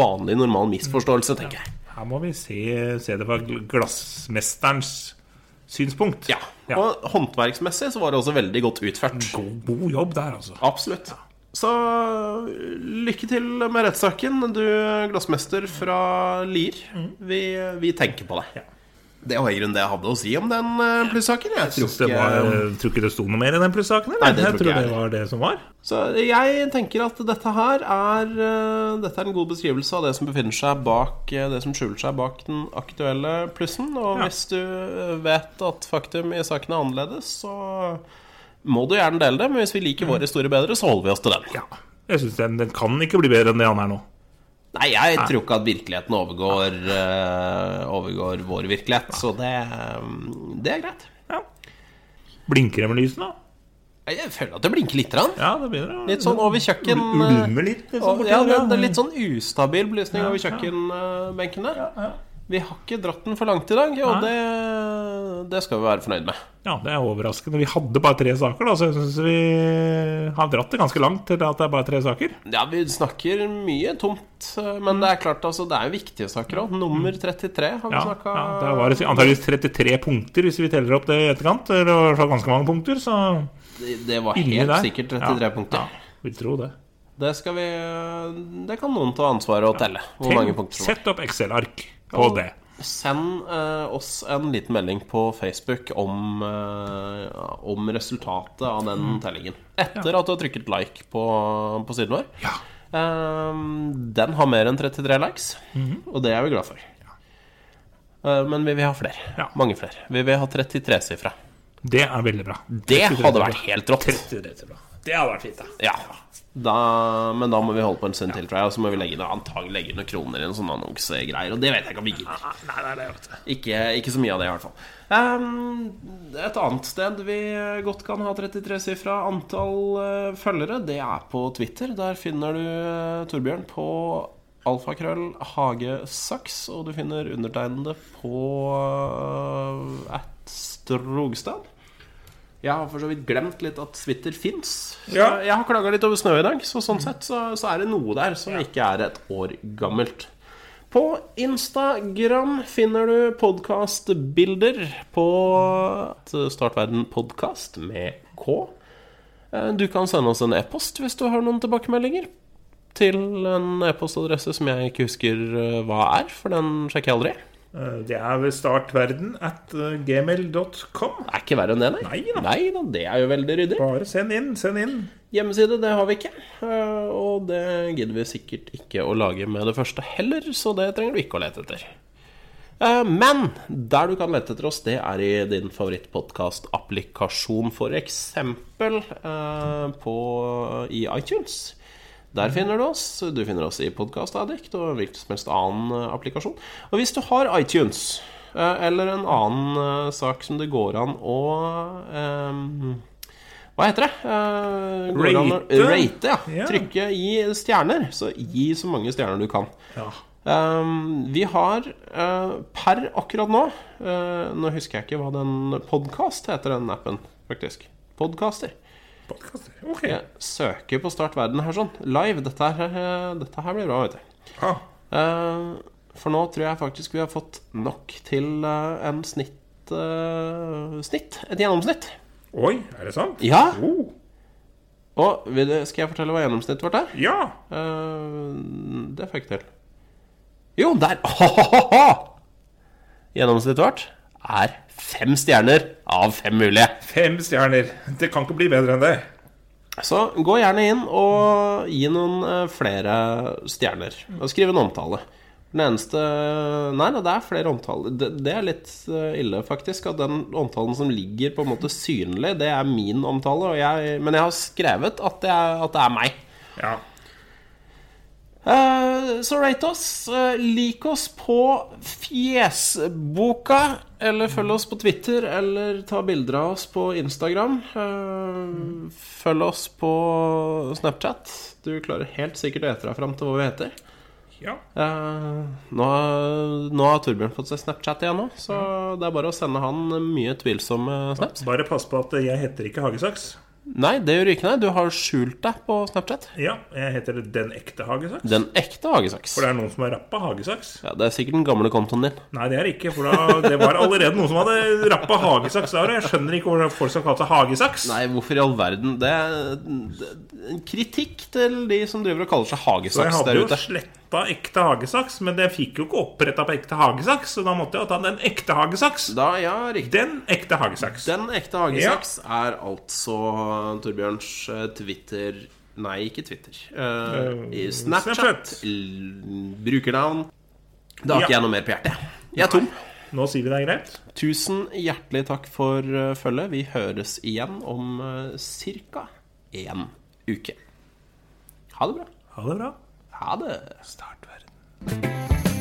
Speaker 1: vanlig, normal misforståelse, tenker jeg.
Speaker 2: Her må vi se, se det fra gl- glassmesterens synspunkt.
Speaker 1: Ja. Og håndverksmessig så var det også veldig godt utført.
Speaker 2: God, god jobb der, altså.
Speaker 1: Absolutt. Så lykke til med rettssaken, du glassmester fra Lier. Vi, vi tenker på deg. Det var i grunnen det jeg hadde å si om den eh, plussaken. Jeg tror
Speaker 2: Syns det
Speaker 1: ikke-
Speaker 2: var, eh, jeg tror ikke det sto noe mer i den plussaken. eller?
Speaker 1: Nei, det tror
Speaker 2: jeg tror
Speaker 1: ikke jeg
Speaker 2: det var det som var.
Speaker 1: Så jeg tenker at dette her er eh, Dette er en god beskrivelse av det som befinner seg bak eh, Det som skjuler seg bak den aktuelle plussen. Og
Speaker 2: Ja.
Speaker 1: hvis du vet at faktum i saken er annerledes, så må du gjerne dele det. Men hvis vi liker vår historie bedre, så holder vi oss til den.
Speaker 2: Ja. Jeg syns den, den kan ikke bli bedre enn det han er nå.
Speaker 1: Nei, jeg tror ikke at virkeligheten overgår, eh, overgår vår virkelighet, så det, eh, det er greit.
Speaker 2: Ja. Blinker det med lysene?
Speaker 1: Jeg føler at det blinker litt. Rann.
Speaker 2: Ja, det begynner å
Speaker 1: Litt sånn over kjøkken...
Speaker 2: Ul- Ulmer litt, liksom.
Speaker 1: Og,
Speaker 2: borti
Speaker 1: ja,
Speaker 2: der,
Speaker 1: det, det
Speaker 2: ja.
Speaker 1: er litt sånn ustabil belysning over kjøkkenbenken der. Vi har ikke dratt den for langt i dag, og
Speaker 2: Nei.
Speaker 1: det, det skal vi være fornøyd med.
Speaker 2: Ja, det er overraskende. Vi hadde bare tre saker, da, så jeg syns vi har dratt det ganske langt til at det er bare tre saker.
Speaker 1: Ja, vi snakker mye tomt, men det er klart, altså, det er jo viktige saker òg. Nummer 33 har vi
Speaker 2: Ja,
Speaker 1: snakka
Speaker 2: ja, Det var antakeligvis 33 punkter, hvis vi teller opp det i etterkant. Eller i hvert fall ganske mange punkter, så
Speaker 1: det, det var
Speaker 2: inni
Speaker 1: helt
Speaker 2: der.
Speaker 1: sikkert 33
Speaker 2: Ja,
Speaker 1: punkter.
Speaker 2: Ja, vil tro det.
Speaker 1: Det skal vi Det kan noen ta ansvaret og telle. Hvor mange
Speaker 2: Tenk-
Speaker 1: punkter det var.
Speaker 2: Sett opp Excel-ark på det.
Speaker 1: Send eh, oss en liten melding på Facebook om, eh, om resultatet av den tellingen. Etter at du har trykket like på, på siden vår.
Speaker 2: Ja.
Speaker 1: Eh, den har mer enn 33 likes, og det er vi glad for. Eh, men vi vil ha flere.
Speaker 2: Ja.
Speaker 1: Mange flere. Vi vil ha 33-sifra.
Speaker 2: Det er veldig bra.
Speaker 1: Det hadde vært helt rått.
Speaker 2: 33 bra. Det hadde vært fint, da.
Speaker 1: Ja. Da, men da må vi holde på en stund til, tror jeg. Og så må vi legge ned, antagelig legge noen kroner i en sånn annonsegreier. Og det vet jeg ikke om vi gidder.
Speaker 2: Ah, Nei, nei, det er godt.
Speaker 1: Ikke, ikke så mye av det, i hvert fall. Ehm, et annet sted vi godt kan ha 33-sifra antall eh, følgere, det er på Twitter. Der finner du eh, Torbjørn på alfakrøll hagesaks, og du finner undertegnede på eh, at Strogstad. Jeg har for så vidt glemt litt at Twitter fins.
Speaker 2: Ja.
Speaker 1: Jeg har klaga litt over snø i dag, så sånn sett så, så er det noe der som ikke er et år gammelt. På Instagram finner du podkastbilder på Startverden podkast med K. Eh, Du kan sende oss en e-post hvis du har noen tilbakemeldinger. til en e-postadresse som jeg ikke husker eh, hva er, for den sjekker jeg aldri.
Speaker 2: Eh, Det er ved startverden at eh, gmail.com.
Speaker 1: Det er ikke verre enn det, nei.
Speaker 2: Nei da.
Speaker 1: nei da, det er jo veldig ryddig.
Speaker 2: Bare send inn, send inn.
Speaker 1: Hjemmeside, det har vi ikke. eh, Og det gidder vi sikkert ikke å lage med det første heller, så det trenger du ikke å lete etter. Eh, Men der du kan lete etter oss, det er i din favorittpodkast-applikasjon, f.eks. eh, på- i iTunes. Der finner du oss. Du finner oss i Podcast Addict og hvilken som helst annen eh, applikasjon. Og hvis du har iTunes eh, eller en annen eh, sak som det går an å eh, hva heter det? Eh, går det an å-
Speaker 2: Rate?
Speaker 1: Rate, ja.
Speaker 2: Ja.
Speaker 1: Trykke i stjerner. Så gi så mange stjerner du kan.
Speaker 2: Ja.
Speaker 1: Ehm, vi har eh, per akkurat nå eh, Nå husker jeg ikke hva den podkast heter, den appen, faktisk. Podkaster.
Speaker 2: Podkaster. Ok.
Speaker 1: Jeg søker på Start verden her sånn. Live. Dette her, eh, dette her blir bra, vet du.
Speaker 2: Ah,
Speaker 1: Eh, for nå tror jeg faktisk vi har fått nok til eh, en snitt, eh, snitt. Et gjennomsnitt.
Speaker 2: oi, er det sant?
Speaker 1: Ja.
Speaker 2: Oh,
Speaker 1: Og vil, du- skal jeg fortelle hva gjennomsnittet vårt er?
Speaker 2: ja.
Speaker 1: Eh, det fikk jeg til. Jo, der! Hahaha! Gjennomsnittet vårt er fem stjerner av fem mulige.
Speaker 2: Fem stjerner. Det kan ikke bli bedre enn det.
Speaker 1: Så gå gjerne inn og gi noen eh, flere stjerner. Og skriv en omtale. Den eneste Nei, nei, det er flere omtaler. Det, det er litt eh, ille, faktisk. At den omtalen som ligger på en måte synlig, det er min omtale. Og jeg, men jeg har skrevet at det er, at det er meg.
Speaker 2: Ja.
Speaker 1: Eh, Så rate oss. eh, Lik oss på Fjesboka, eller følg oss på Twitter, eller ta bilder av oss på Instagram. Eh, Følg oss på Snapchat. Du klarer helt sikkert å ete deg fram til hva vi heter.
Speaker 2: ja.
Speaker 1: Eh, Nå, nå har Torbjørn fått seg Snapchat igjen nå, så det er bare å sende han mye tvilsomme snaps.
Speaker 2: Bare pass på at jeg heter ikke Hagesaks.
Speaker 1: Nei, det gjør du ikke, nei. Du har skjult deg på Snapchat.
Speaker 2: Ja, jeg heter Den ekte Hagesaks.
Speaker 1: Den ekte hagesaks.
Speaker 2: For det er noen som har rappa Hagesaks.
Speaker 1: Ja, det er sikkert den gamle kontoen din.
Speaker 2: Nei, det er det ikke. For da, det var allerede noen som hadde rappa Hagesaks. der, og Jeg skjønner ikke hvordan folk skal kalle seg Hagesaks.
Speaker 1: Nei, hvorfor i all verden? Det er det- en kritikk til de som driver og kaller seg
Speaker 2: Så jeg
Speaker 1: hagesaks
Speaker 2: hadde
Speaker 1: der
Speaker 2: jo
Speaker 1: ute.
Speaker 2: sletta ekte hagesaks, men jeg fikk jo ikke oppretta på ekte hagesaks, så da måtte jeg jo ta den ekte hagesaks.
Speaker 1: Da, ja, riktig.
Speaker 2: Den ekte hagesaks.
Speaker 1: Den ekte hagesaks er altså Torbjørns eh, Twitter Nei, ikke Twitter. Eh, i Snapchat.
Speaker 2: Snapchat.
Speaker 1: L- Brukernavn. Da har
Speaker 2: Ja.
Speaker 1: ikke jeg noe mer på hjertet. Jeg er tom.
Speaker 2: Nå sier vi det er greit.
Speaker 1: Tusen hjertelig takk for eh, følget. Vi høres igjen om eh, ca. én uke. Ha det bra.
Speaker 2: Ha det bra.
Speaker 1: Ha det.
Speaker 2: Start verden.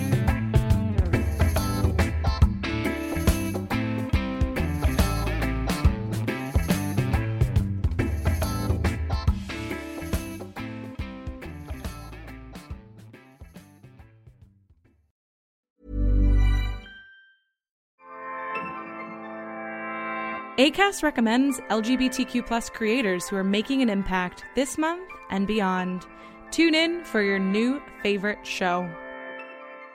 Speaker 5: ACAST recommends LGBTQ plus creators who are making an impact this month and beyond. Tune in for your new favorite show.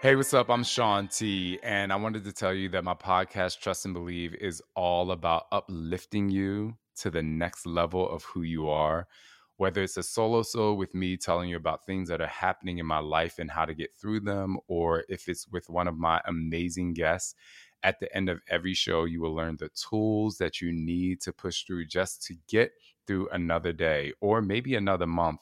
Speaker 6: Hey, what's up? I'm Sean T, and I wanted to tell you that my podcast, Trust and Believe, is all about uplifting you to the next level of who you are. Whether it's a solo soul with me telling you about things that are happening in my life and how to get through them, or if it's with one of my amazing guests, at the end of every show, you will learn the tools that you need to push through just to get through another day or maybe another month.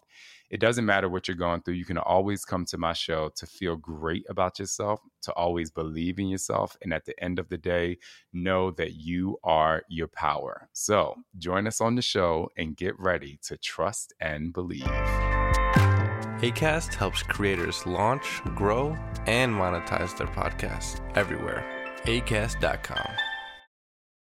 Speaker 6: It doesn't matter what you're going through. You can always come to my show to feel great about yourself, to always believe in yourself. And at the end of the day, know that you are your power. So join us on the show and get ready to trust and believe.
Speaker 7: ACAST helps creators launch, grow, and monetize their podcasts everywhere. ACAST.com.